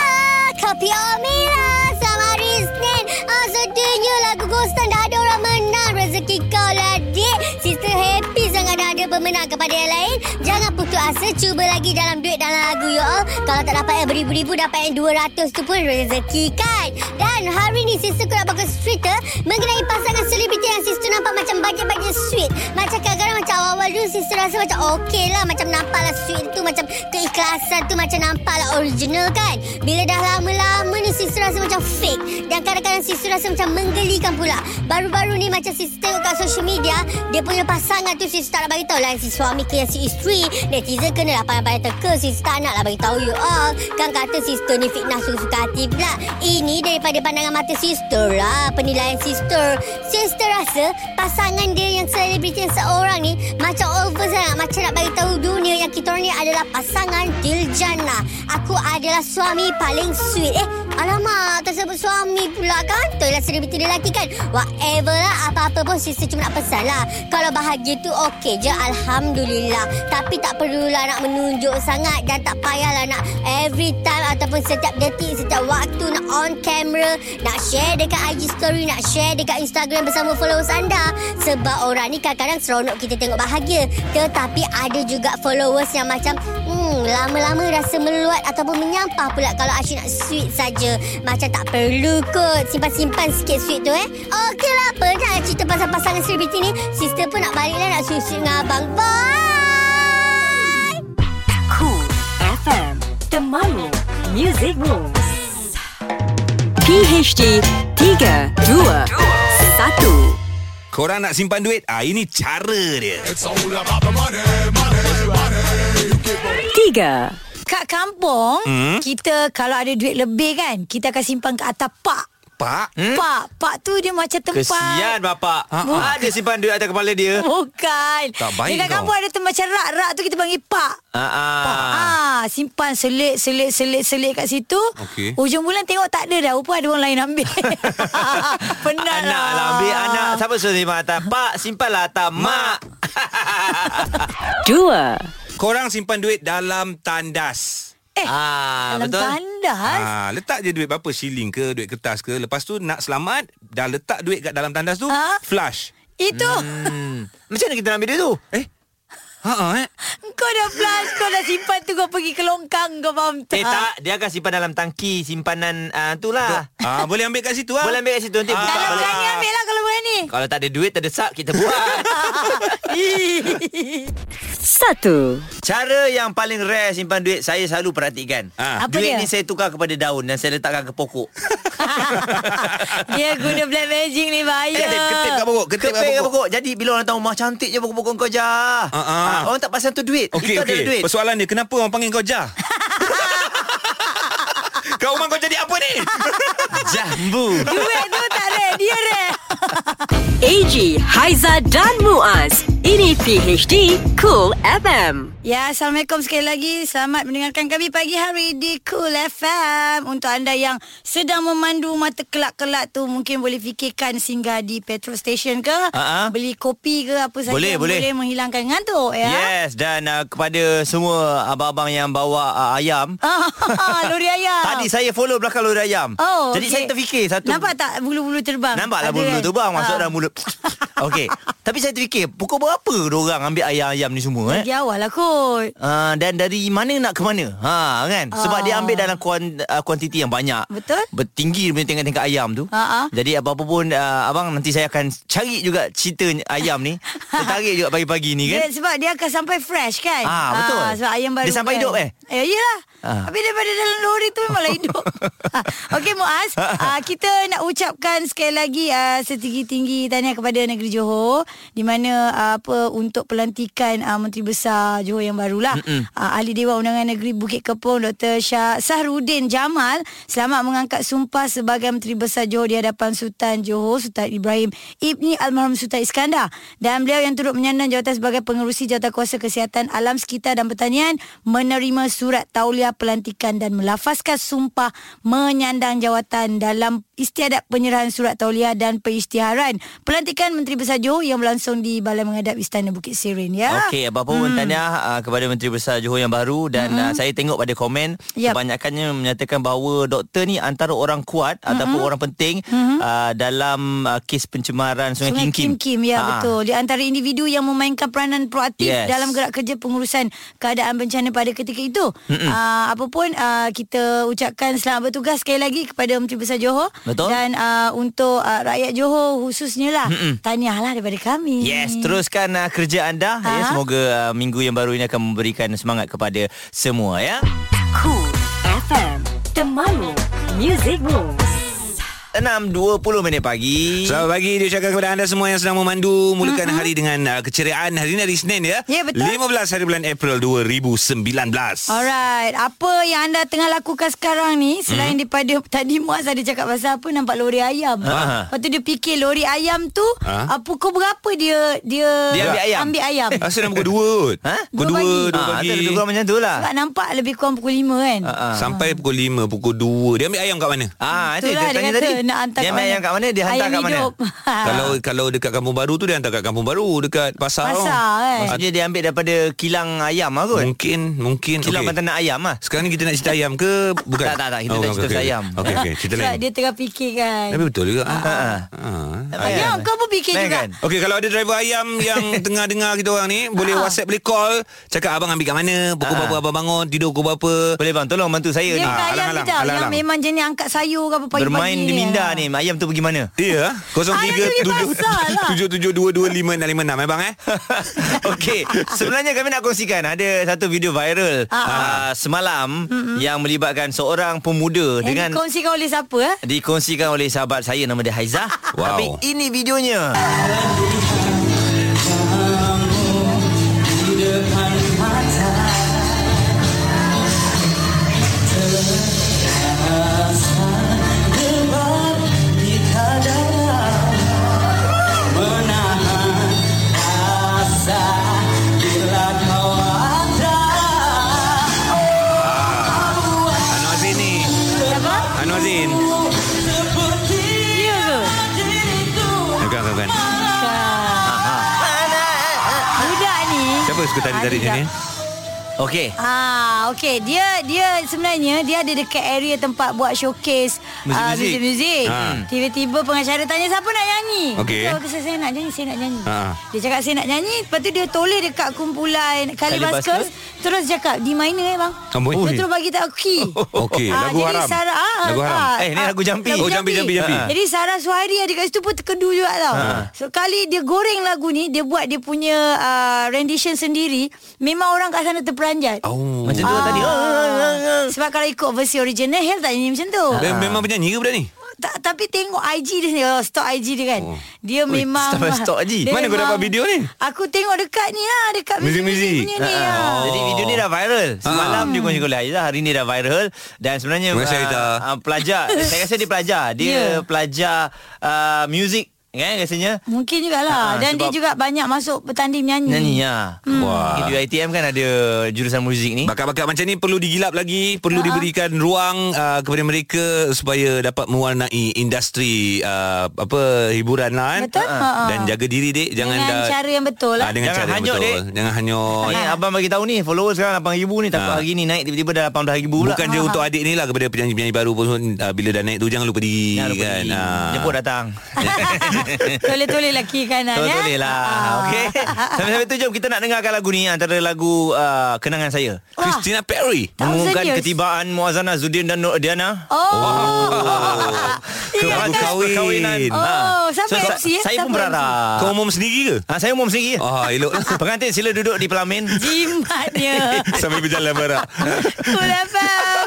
K: Kopi Omila. Selamat hari Isnin. Ah, sedihnya lagu Ghostan dah ada orang menang. Rezeki kau lah, dik. Sister happy sangat dah ada pemenang kepada yang lain. Jangan putus asa. Cuba lagi dalam duit dalam lagu, you all. Kalau tak dapat yang beribu-ribu, dapat yang 200 tu pun rezeki kan. Dan hari ni sister aku nak bagus cerita eh, mengenai pasangan selebriti yang sister nampak macam bajet-bajet sweet. Macam kadang-kadang macam awal-awal dulu sister rasa macam okey lah. Macam nampak lah sweet tu. Macam keikhlasan tu macam nampak lah original kan. Bila dah lama-lama ni sister rasa macam fake. Dan kadang-kadang sister rasa macam menggelikan pula. Baru-baru ni macam sister tengok kat social media. Dia punya pasangan tu sister tak nak beritahu lah. Si suami ke yang si isteri. Netizen kena lah pandai-pandai teka. Sister tak nak lah beritahu you all. Kan kata sister ni fitnah suka-suka hati pula. Ini daripada pandangan mata sister lah. Penilaian sister. Sister rasa pasangan dia yang selebriti yang seorang ni macam over sangat. Macam nak bagi tahu dunia yang kita orang ni adalah pasangan Diljana. Aku adalah suami paling sweet. Eh, alamak tersebut suami pula kan? Itulah selebriti dia lelaki kan? Whatever lah, apa-apa pun sister cuma nak pesan lah. Kalau bahagia tu okey je, Alhamdulillah. Tapi tak perlulah nak menunjuk sangat dan tak payahlah nak every time ataupun setiap detik, setiap waktu nak on camera, nak share dekat IG story, nak share dekat Instagram bersama followers anda. Sebab orang ni kadang-kadang seronok kita tengok bahagia. Tetapi ada juga followers yang macam, hmm, lama-lama rasa meluat ataupun menyampah pula kalau Asyik nak sweet saja. Macam tak perlu kot simpan-simpan sikit sweet tu eh. Okeylah, apa dah cerita pasal pasangan selebriti ni. Sister pun nak baliklah nak sweet-sweet dengan abang. Bye!
A: Cool FM. Temanmu. Music Room. PHD 3, 2, 1.
C: Korang nak simpan duit? Ah ini cara dia.
A: 3.
D: Kat kampung, hmm? kita kalau ada duit lebih kan, kita akan simpan ke atas pak.
C: Pak,
D: Hmm? Pak, pak tu dia macam tempat.
B: Kesian bapak. Ha, ada simpan duit atas kepala dia.
D: Bukan.
C: Tak baik
D: Dekat
C: kau.
D: kampung ada tempat macam rak-rak tu kita panggil pak.
B: Ha
D: Pak.
B: ah.
D: Ah, simpan selit, selit, selit, selit kat situ.
C: Okey.
D: Hujung bulan tengok tak ada dah. Rupa ada orang lain ambil. Penat
B: Anak lah ambil anak. Siapa suruh simpan atas? Pak, simpanlah atas mak.
A: 2.
C: korang simpan duit dalam tandas.
D: Eh,
C: Ah,
D: dalam betul. tandas?
C: Ah, letak je duit berapa siling ke, duit kertas ke. Lepas tu nak selamat, dah letak duit kat dalam tandas tu, ha? flush.
D: Itu.
C: Hmm. Macam mana kita nak ambil duit tu? Eh? Ha ah eh.
D: Kau dah flash Kau dah simpan tu Kau pergi ke longkang Kau faham tak
B: Eh tak Dia akan simpan dalam tangki Simpanan uh, tu lah
C: ah, Boleh ambil kat situ lah
B: Boleh ambil kat situ
D: Ah,
B: Nanti buka
D: Kalau
B: balik
D: berani ambil lah Kalau berani
B: Kalau tak ada duit Tak ada sub Kita buat
A: Satu
B: Cara yang paling rare Simpan duit Saya selalu perhatikan
C: Ah.
B: ha.
D: Apa
B: Duit
D: dia?
B: ni saya tukar kepada daun Dan saya letakkan ke pokok
D: Dia guna black magic ni Bahaya
B: Ketip kat pokok. Jadi bila orang tahu Mah cantik je pokok-pokok kau Jah
C: Ah, ah.
B: Ah, Orang tak pasang tu duit
C: Okey,
B: Itu
C: okey.
B: adalah duit
C: Persoalan dia, kenapa orang panggil kau Jah? kau rumah kau jadi apa ni?
B: Jambu
D: Duit tu tak rare Dia rare
A: AG, Haiza dan Muaz. Ini PHD Cool FM.
D: Ya, Assalamualaikum sekali lagi. Selamat mendengarkan kami pagi hari di Cool FM. Untuk anda yang sedang memandu mata kelak-kelak tu mungkin boleh fikirkan singgah di petrol station ke,
B: Ah, ah.
D: beli kopi ke apa saja
B: Boleh,
D: yang
B: boleh.
D: boleh menghilangkan ngantuk ya.
B: Yes dan uh, kepada semua abang-abang yang bawa uh, ayam.
D: Ah, lori ayam.
B: Tadi saya follow belakang lori ayam.
D: Oh,
B: Jadi
D: okey.
B: saya terfikir satu
D: Nampak tak bulu-bulu terbang?
B: Nampaklah
D: Ada
B: bulu
D: kan?
B: tu bang masuk
D: Ah.
B: dalam mulut. Okey. Tapi saya terfikir pukul berapa orang ambil ayam-ayam ni semua eh?
D: Lagi awal lah kot.
B: Uh, dan dari mana nak ke mana ha kan sebab
D: Ah.
B: dia ambil dalam kuan, uh, kuantiti yang banyak
D: Betul.
B: bertinggi dia punya tingkat-tingkat ayam tu
D: Ah, ah.
B: jadi apa-apa pun uh, abang nanti saya akan cari juga cerita ayam ni tertarik juga pagi-pagi ni kan
D: Dia, sebab dia akan sampai fresh kan
B: Ah, betul.
D: Sebab ayam baru
B: Dia sampai
D: kan.
B: hidup, eh?
D: Ya iyalah
B: Ah.
D: Tapi daripada dalam lori tu memanglah hidup Ah, Okey Muaz ah, Kita nak ucapkan sekali lagi ah, Setinggi-tinggi tahniah kepada negeri Johor Di mana ah, apa untuk pelantikan ah, Menteri Besar Johor yang barulah ah, Ahli Dewan Undangan Negeri Bukit Kepong Dr. Shah Sahrudin Jamal Selamat mengangkat sumpah sebagai Menteri Besar Johor Di hadapan Sultan Johor Sultan Ibrahim Ibni Almarhum Sultan Iskandar Dan beliau yang turut menyandang jawatan sebagai pengerusi Jawatankuasa Kesihatan Alam Sekitar dan Pertanian menerima surat tauliah pelantikan dan melafazkan sumpah menyandang jawatan dalam istiadat penyerahan surat tauliah dan perisytiharan pelantikan Menteri Besar Johor yang berlangsung di Balai Mengadap Istana Bukit Serin ya.
B: Okey, apa-apa pun tahniah uh, kepada Menteri Besar Johor yang baru dan uh, saya tengok pada komen
D: Hmm. Yap.
B: kebanyakannya menyatakan bahawa doktor ni antara orang kuat
D: Hmm.
B: ataupun orang penting uh, dalam uh, kes pencemaran Sungai,
D: Sungai Kim Kim, ya
B: Ah.
D: betul. Di antara individu yang memainkan peranan proaktif
B: Yes.
D: dalam gerak kerja pengurusan keadaan bencana pada ketika itu.
B: Mm-mm.
D: Uh, apa pun uh, kita ucapkan selamat bertugas sekali lagi kepada Menteri Besar Johor
B: Betul.
D: dan uh, untuk uh, rakyat Johor khususnya lah
B: Mm-mm.
D: tahniahlah daripada kami.
B: Yes, teruskan uh, kerja anda. Ya,
D: Hmm. Ah.
B: semoga uh, minggu yang baru ini akan memberikan semangat kepada semua ya.
A: Cool FM. The Malu Music Rules.
B: 6.20 minit pagi.
C: Selamat pagi diucapkan kepada anda semua yang sedang memandu Mulakan mm-hmm. hari dengan uh, keceriaan Hari ini hari Senin ya
D: Ya, betul.
C: 15 hari bulan April 2019
D: Alright, apa yang anda tengah lakukan sekarang ni selain hmm. daripada tadi Muaz ada cakap pasal apa nampak lori ayam.
C: Ah.
D: Lepas tu dia fikir lori ayam tu
C: Ah.
D: ah. pukul berapa dia dia,
C: Dia ambil ayam?
D: Ambil ayam.
C: Rasa dah Ah, pukul 2 kot
B: Ha?
C: Pukul 2 2 pagi
B: macam tu lah.
D: Sebab nampak lebih kurang pukul 5 kan.
C: Sampai pukul 5 Pukul 2 Dia ambil ayam kat mana?
B: Ah, itu dia
D: Itulah
B: tanya
D: lah, kata
B: tadi.
D: nak hantar
B: Dia
D: kat
B: main
D: mana.
B: yang kat mana? Dia hantar
D: ayam
B: kat mana? Ah.
D: hidup.
C: Kalau kalau dekat kampung baru tu Dia hantar kat kampung baru Dekat pasar
D: Pasar,
C: tau.
D: kan?
B: Maksudnya dia ambil daripada kilang ayam lah kot.
C: Mungkin Mungkin
B: Kilang
C: okey.
B: okay. nak ayam lah.
C: Sekarang ni kita nak cerita ayam ke Bukan Oh,
B: Tak, tak, tak. Kita nak cerita pasal ayam.
C: Okey okey Cerita
D: Sebab
C: lain
D: dia tengah fikir kan.
C: Tapi betul juga ah.
B: Ah.
C: Ah.
D: Ya,
B: Bayangkan.
D: kau pun fikir juga.
B: Bayangkan.
C: Okey kalau ada driver ayam yang tengah dengar kita orang ni boleh WhatsApp boleh call cakap abang ambil kat mana pukul
B: Ah.
C: berapa abang bangun tidur pukul berapa
B: Boleh bang tolong bantu saya
D: Dia
B: ni.
D: bukan
C: Ah,
D: ayam
C: alang-alang,
D: ni tau. Yang
C: alang-alang.
D: memang jenis angkat sayur ke apa pagi-pagi
B: Bermain di
D: ni. kan?
B: minda ni. Ayam tu pergi mana?
C: Ya,
D: Ayam tu pergi pasar lah.
C: 0377225656 eh bang eh.
B: Okey, sebenarnya kami nak kongsikan ada satu video viral
D: Ah,
B: uh, semalam yang melibatkan seorang pemuda
D: Yang
B: dengan
D: Eh, dikongsikan oleh siapa eh?
B: dikongsikan oleh sahabat saya nama dia Haizah.
C: Wow.
B: Tapi ini videonya.
C: Anwar Zain ni. Anwar Zain.
D: Ya ke?
C: Bukan bukan. bukan.
D: Budak ni
C: Siapa suka tarik-tarik
D: Ada
C: ni?
D: tak?
B: Okey.
D: Ah, okey. Dia dia sebenarnya dia ada dekat area tempat buat showcase
B: Muzik-muzik.
D: ah, muzik-muzik.
C: Ah.
D: Tiba-tiba pengacara tanya siapa nak nyanyi.
C: Okey.
D: Tahu ke saya, saya nak nyanyi, saya nak nyanyi.
C: Ah.
D: Dia cakap saya nak nyanyi, lepas tu dia toleh dekat kumpulan Kalibaskus, terus cakap di minor eh bang.
C: Amboi. Oh.
D: Dia terus bagi tahu key.
C: Okey,
D: Ah,
C: lagu
D: jadi
C: haram.
D: Sarah, ah,
C: Lagu haram.
D: ah,
C: Eh, ni
D: ah,
C: lagu jampi. Oh, jampi, jampi, jampi.
D: Ah. Jadi Sarah Suhairi ada kat situ pun terkedu juga tau.
C: Ha.
D: Sekali dia goreng lagu ni, dia buat dia punya uh, rendition sendiri, memang orang kat sana terperanjat. Ah.
C: Oh.
B: Macam tu lah tadi.
D: Sebab kalau ikut versi original Hell tak nyanyi macam tu
C: Ah. Dia memang penyanyi ke budak ni?
D: Ta- Tapi tengok IG dia ni oh, Stok IG dia kan oh. Dia
C: Ui,
D: memang
C: stok- stok IG.
D: dia
C: Mana kau
D: memang-
C: dapat video ni?
D: Aku tengok dekat ni lah Dekat
B: Music
D: muzik-muzik punya
C: Ah,
D: ni lah
C: Oh.
B: Jadi video ni dah viral. Semalam
D: Ah.
B: dia kunci kuliah Aizah, hari ni dah viral dan sebenarnya
C: Terima kasih,
B: ah,
C: Aizah.
B: ah, pelajar, saya rasa dia pelajar. Dia
D: Yeah.
B: pelajar uh, music kan rasanya.
C: Ah,
D: Mungkin jugalah
B: Ha,
D: Dan dia
B: sebab-
D: juga banyak masuk Bertanding menyanyi
B: Nyanyi ya.
D: Hmm.
B: Wah. Di UiTM kan ada jurusan muzik ni.
C: Bakat-bakat macam ni perlu digilap lagi, perlu diberikan ruang uh, kepada mereka supaya dapat mewarnai industri uh, apa hiburan lah kan.
D: Betul. Ha-ha.
C: Dan jaga diri dik, jangan
D: Dengan
C: dah
D: cara yang betul lah
C: Ah, dengan cara yang betul. Jangan hanyut.
B: Ni
D: Ah.
B: abang bagi tahu ni followers sekarang 8000 ni tak apa hari ni naik tiba-tiba dah 18000
C: Ah.
B: pula.
C: Bukan je untuk adik ni lah kepada penyanyi-penyanyi baru pun uh, bila dah naik tu jangan lupa diri jangan lupa kan. Diri. Uh.
B: Jemput datang.
D: Toleh-toleh lah kiri kanan ya
B: Betul lah. Okey. Sampai-sampai tu jom kita nak dengarkan lagu ni antara lagu uh, kenangan saya.
D: Wah.
C: Christina Perry
B: mengumumkan
D: years.
B: ketibaan Muazzana Zudin dan Nur Diana.
D: Oh.
B: Keratus perkahwinan.
D: Oh, siapa
B: sa-
D: MC, eh?
B: lah. Saya pun
D: Siapa
B: berharap.
C: Kau umum sendiri ke?
B: Ha, Ah. saya umum sendiri.
C: Ah, elok.
B: Pengantin sila duduk di pelamin.
D: Jimatnya
C: Sambil berjalan barak.
D: Cool FM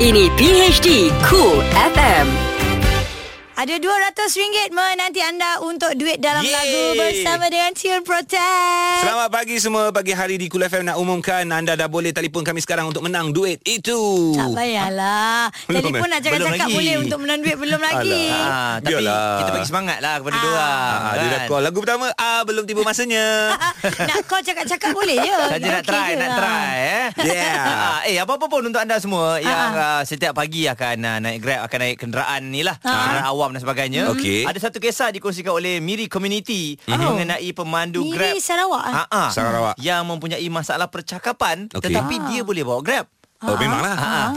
A: Ini PHD Cool FM.
D: Ada RM200 menanti anda untuk duit dalam
C: Yeay.
D: lagu bersama dengan Tune Protect.
C: Selamat pagi semua. Pagi hari di Kul FM nak umumkan anda dah boleh telefon kami sekarang untuk menang duit itu.
D: Tak payahlah.
C: Belum,
D: Telefon
C: eh?
D: nak cakap-cakap
C: Belum lagi.
D: boleh untuk menang duit belum lagi.
B: Ah, tapi
C: Biarlah.
B: kita bagi semangat lah kepada Kan? ah. diorang.
C: Ah, dia dah call. Lagu pertama, ah belum tiba masanya.
D: Ah, nak call cakap-cakap boleh je.
B: Saja nak
D: Okey
B: try,
D: je.
B: nak try eh.
C: Yeah. Ah,
B: Ah, eh apa-apa pun untuk anda semua yang uh, setiap pagi akan uh, naik Grab, akan naik kenderaan ni lah,
C: Ah.
B: kenderaan awam dan sebagainya.
C: Okey.
B: Ada satu kisah dikongsikan oleh Miri Community
C: Oh.
B: mengenai pemandu
D: Miri
B: Grab.
D: Sarawak, ah?
B: ah.
C: Sarawak.
B: Yang mempunyai masalah percakapan
C: Okey.
B: tetapi dia boleh bawa Grab.
C: Oh, memanglah.
B: Ah,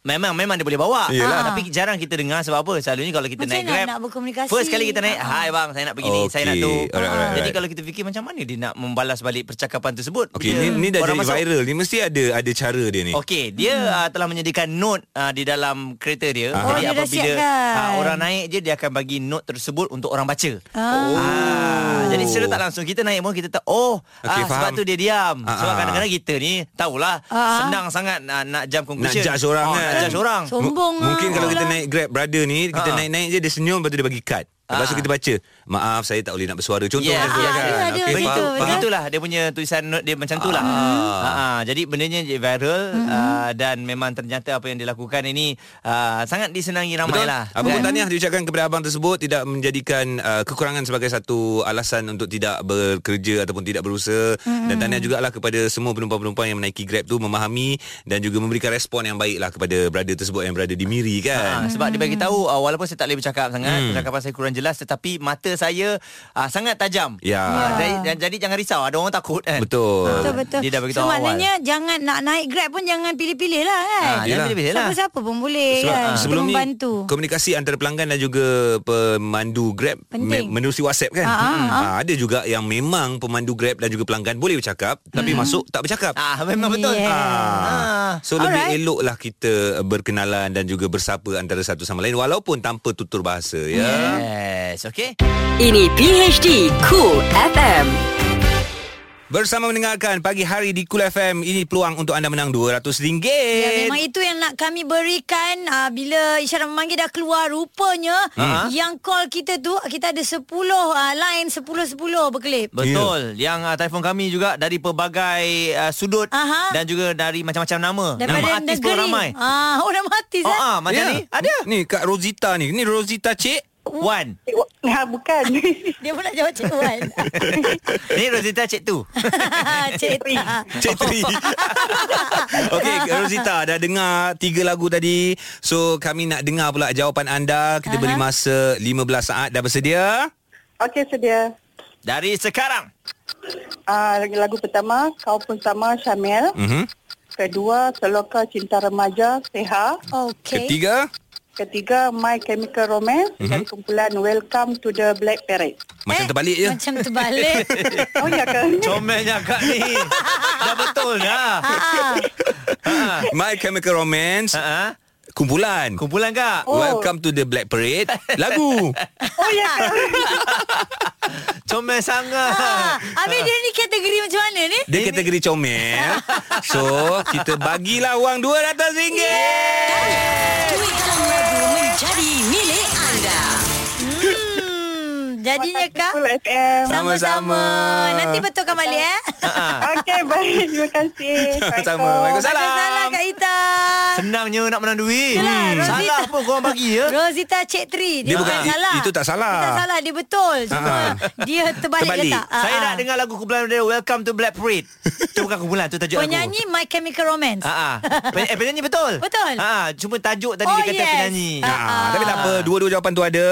B: Memang memang dia boleh bawa.
C: Yelah.
B: Tapi jarang kita dengar sebab apa? Selalunya kalau kita
D: Macam
B: naik
D: mana
B: Grab
D: nak berkomunikasi?
B: First kali kita naik, "Hai bang, saya nak pergi ni, saya nak
C: Okey. Ah,
B: tu."
C: Alright, alright,
B: Jadi
C: alright.
B: kalau kita fikir macam mana dia nak membalas balik percakapan tersebut?
C: Okey,
B: Bila
C: ni, ni dah jadi
B: orang masuk-
C: viral. Ni mesti ada ada cara dia ni.
B: Okey, dia hmm. uh, telah menyediakan note uh, di dalam kereta
C: Ah.
B: dia.
D: Oh,
B: Jadi
D: dia dah
B: apabila
D: siapkan.
B: uh, orang naik je dia akan bagi note tersebut untuk orang baca.
D: Ah.
B: Ah, jadi secara tak langsung kita naik pun kita tak
C: Oh.
B: oh
C: Okey,
B: ah, sebab
C: faham.
B: tu dia diam.
C: Ah,
B: Sebab
C: ah.
B: kadang-kadang kita ni tahulah
D: Ah.
B: senang sangat uh, nak
C: Nak
B: jump conclusion.
C: judge orang
B: Ah,
C: kan.
B: Nak judge orang.
D: So- Sombong
C: M- Mungkin
D: lah.
C: kalau kita
D: Betul lah.
C: naik Grab brother ni, kita
B: Ha.
C: naik-naik je dia senyum lepas tu dia bagi kad. Lepas tu
D: Ah.
B: Ha.
C: kita baca, maaf saya tak boleh nak bersuara. Contoh
B: Yeah,
D: Ya,
C: macam tu
B: yeah,
C: kan.
D: yeah, ada,
C: Okey,
D: Ah, betul,
C: faham,
D: betul.
C: faham.
B: Begitulah dia punya tulisan note dia macam tu lah.
C: Ah.
B: Ah. ah, jadi bendanya jadi viral
D: Mm-hmm.
B: ah, dan memang ternyata apa yang dilakukan ini ah, sangat disenangi ramai
C: Betul.
B: lah.
C: Apa pun tahniah diucapkan kepada abang tersebut tidak menjadikan uh, kekurangan sebagai satu alasan untuk tidak bekerja ataupun tidak berusaha mm-hmm. dan tahniah jugalah kepada semua penumpang-penumpang yang menaiki Grab tu memahami dan juga memberikan respon yang baiklah kepada brother tersebut yang berada di Miri
B: Ha,
C: kan.
B: sebab dia
D: Hmm.
B: bagi tahu uh, walaupun saya tak boleh bercakap sangat, hmm. percakapan saya kurang jelas tetapi mata saya uh, sangat tajam.
C: Ya.
B: Ah, jadi, dan, jadi jangan risau, ada orang takut
D: Mm.
B: kan.
C: Betul.
D: Betul betul.
B: Dia dah beritahu
D: so,
B: awal.
D: maknanya jangan nak naik Grab pun jangan pilih-pilih lah kan.
B: Ah, jangan pilih-pilih lah.
D: Siapa-siapa pun boleh
C: Sebab
D: kan.
C: uh,
D: Kita
C: sebelum ni
D: membantu.
C: komunikasi antara pelanggan dan juga pemandu Grab
D: Penting.
C: me- menerusi WhatsApp kan.
D: Ah, ah,
C: Hmm. Ah, ada juga yang memang pemandu Grab dan juga pelanggan boleh bercakap tapi masuk tak bercakap.
B: Ah memang betul.
D: Yeah.
B: Ah.
C: Ah. So Alright. lebih eloklah kita berkenalan dan juga bersapa antara satu sama lain walaupun tanpa tutur bahasa ya.
B: Yes, okay.
A: Ini PHD Cool FM.
C: Bersama mendengarkan pagi hari di Kul FM ini peluang untuk anda menang RM200.
D: Ya, memang itu yang nak kami berikan uh, bila isyarat memanggil dah keluar rupanya uh-huh. yang call kita tu kita ada 10 uh, line 10 10 berkelip.
B: Betul. Yeah. Yang uh, telefon kami juga dari pelbagai uh, sudut
D: Aha.
B: dan juga dari macam-macam nama. nama
D: Daripada
B: artis pun
D: negeri.
B: ramai.
D: Ah, oh, nama artis
B: Oh,
D: eh.
B: ah, macam ni. Ada.
C: Ya. Ni Kak Rosita ni. Ni Rosita Cik.
B: Wan.
L: Ha, bukan.
D: Dia pun nak jawab Cik Wan.
B: Ni Rosita Cik Tu.
D: Cik Tri.
C: Cik Tri Okey Rosita Dah dengar Tiga lagu tadi So kami nak dengar pula Jawapan anda Kita beri masa 15 saat Dah bersedia?
L: Okey, sedia.
B: Dari sekarang.
L: Uh, lagu pertama, Kau Pun Sama, Syamil.
C: Mhm.
L: Kedua, Seloka Cinta Remaja, Seha.
D: Okay.
C: Ketiga?
D: Eh,
L: Ketiga, My Chemical Romance mm-hmm. dan
C: Mhm.
L: kumpulan Welcome to the Black Parade.
C: Macam terbalik je.
D: Macam terbalik.
L: oh, ya ke?
B: Comelnya akak ni. Dah betul dah.
C: My Chemical Romance.
D: Ha.
B: Ha-ha.
C: Kumpulan.
B: Ah. Kumpulan kak.
C: Oh. Welcome to the Black Parade. Lagu.
L: Oh, ya ke?
B: Comel sangat.
D: Ha, Habis dia ni kategori macam mana ni?
C: Dia kategori comel. So, kita bagilah wang RM200.
A: Duitkan lagu menjadi milik anda.
D: Hmm, jadinya kak.
C: Sama-sama.
D: Nanti betulkan balik eh.
L: Okey, baik. Terima kasih.
B: Sama-sama. Waalaikumsalam.
D: Waalaikumsalam Kak Ita.
B: Senangnya nak menang duit.
D: Yalah,
B: Hmm.
D: Rosita.
B: Salah pun korang bagi ya.
D: Rosita Cik Tri
B: Dia
D: Dia, bukan
B: bukan- i-
D: salah
B: itu tak salah.
D: Dia tak salah Dia betul Cuma
B: Ah.
D: dia terbalik,
B: Terbalik.
D: ke tak Ah,
B: Saya
D: ah.
B: nak dengar lagu kumpulan dia Welcome to Black Parade. Itu bukan kumpulan, tu tajuk lagu.
D: Penyanyi My Chemical Romance
B: Ah, ah. Pen- eh, penyanyi betul?
D: Betul.
B: Ah, cuma tajuk tadi
D: Oh,
B: dia kata
D: yes.
B: penyanyi.
C: Ah, tapi tak apa Dua-dua jawapan tu ada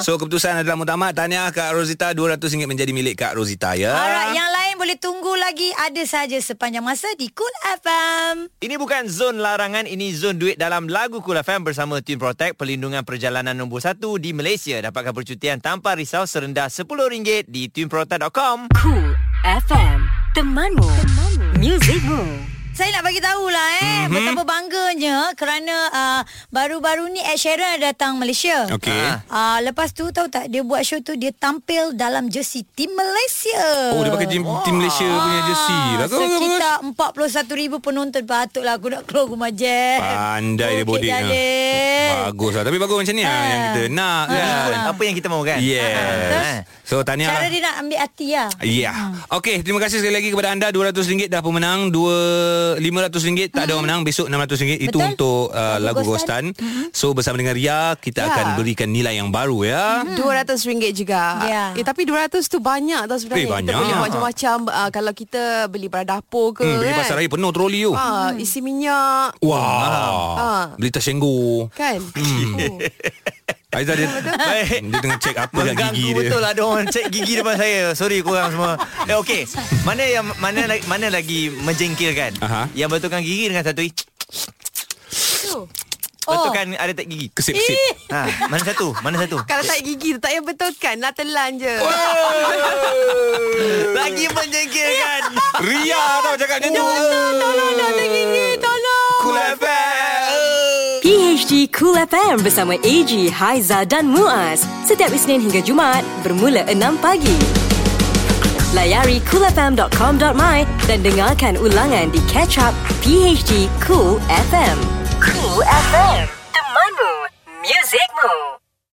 C: So keputusan adalah mutamat Tahniah Kak Rosita RM200 menjadi milik Kak Rosita
B: ah.
C: ya
D: Alright, yang lain boleh tunggu lagi ada saja sepanjang masa di Cool FM.
B: Ini bukan zon larangan, ini zon duit dalam lagu Kul FM bersama Team Protect, pelindungan perjalanan nombor 1 di Malaysia. Dapatkan percutian tanpa risau serendah RM10 di teamprotect.com.
A: Cool FM, temanmu, temanmu. musicmu.
D: Saya nak bagi tahulah eh
A: Mhm.
D: mm-hmm. betapa bangganya kerana uh, baru-baru ni Ed Sheeran datang Malaysia.
C: Okey.
D: Uh, lepas tu tahu tak dia buat show tu dia tampil dalam jersey tim Malaysia.
C: Oh dia pakai tim, tim Malaysia punya jersey lah. Bagus bagus bagus
D: Ah, Sekitar 41,000 penonton Patutlah aku nak keluar rumah je
C: Pandai dia ah.
D: Okey,
C: bodek
D: Jalil.
C: Bagus lah Tapi bagus macam ni lah Yang kita nak kan
D: Ah.
B: Apa yang kita mahu kan
D: Terus,
C: Yes So tahniah
D: Cara
C: lah
D: dia nak ambil hati lah
C: Ya. Yeah. Okey, terima kasih sekali lagi kepada anda RM200 dah pemenang, dua RM500 tak ada orang menang, besok RM600 itu
D: Betul.
C: untuk uh,
M: Lagu
C: lagu
M: Ghostan.
C: Ghostan. So bersama dengan Ria kita
M: Ya.
C: akan berikan nilai yang baru ya.
A: Hmm,
M: RM200 juga
D: Ya.
M: eh, Tapi RM200 tu banyak tau sebenarnya
C: Eh, banyak.
M: Kita boleh buat macam-macam uh, Kalau kita beli barang dapur ke
C: Hmm, beli
M: kan?
C: pasar raya penuh troli oh. tu.
M: Ah,
D: Hmm.
M: Isi minyak
C: Wah.
M: Ah.
C: Beli tas senggu.
M: Kan
C: Hmm. Aizah dia, dia tengah cek apa kat gigi dia.
B: Betul ada orang cek gigi depan saya. Sorry korang semua. Eh okey. Mana yang mana lagi- mana lagi menjengkelkan? Uh-huh. Yang betulkan gigi dengan satu i- betulkan ada tak gigi.
M: Kesip-kesip. Ih.
B: Ha, mana satu? Mana satu?
M: Kalau tak gigi tu tak payah betulkan Lah telan je
C: Oh,
B: Lagi menjengkelkan
C: Ria tau cakap macam tu
M: Tolong dah gigi Tolong
C: Cool FM
A: PHD Cool FM bersama AG, Haiza dan Muaz. Setiap Isnin hingga Jumaat bermula 6 pagi. Layari coolfm.com.my dan dengarkan ulangan di catch up PHD Cool FM.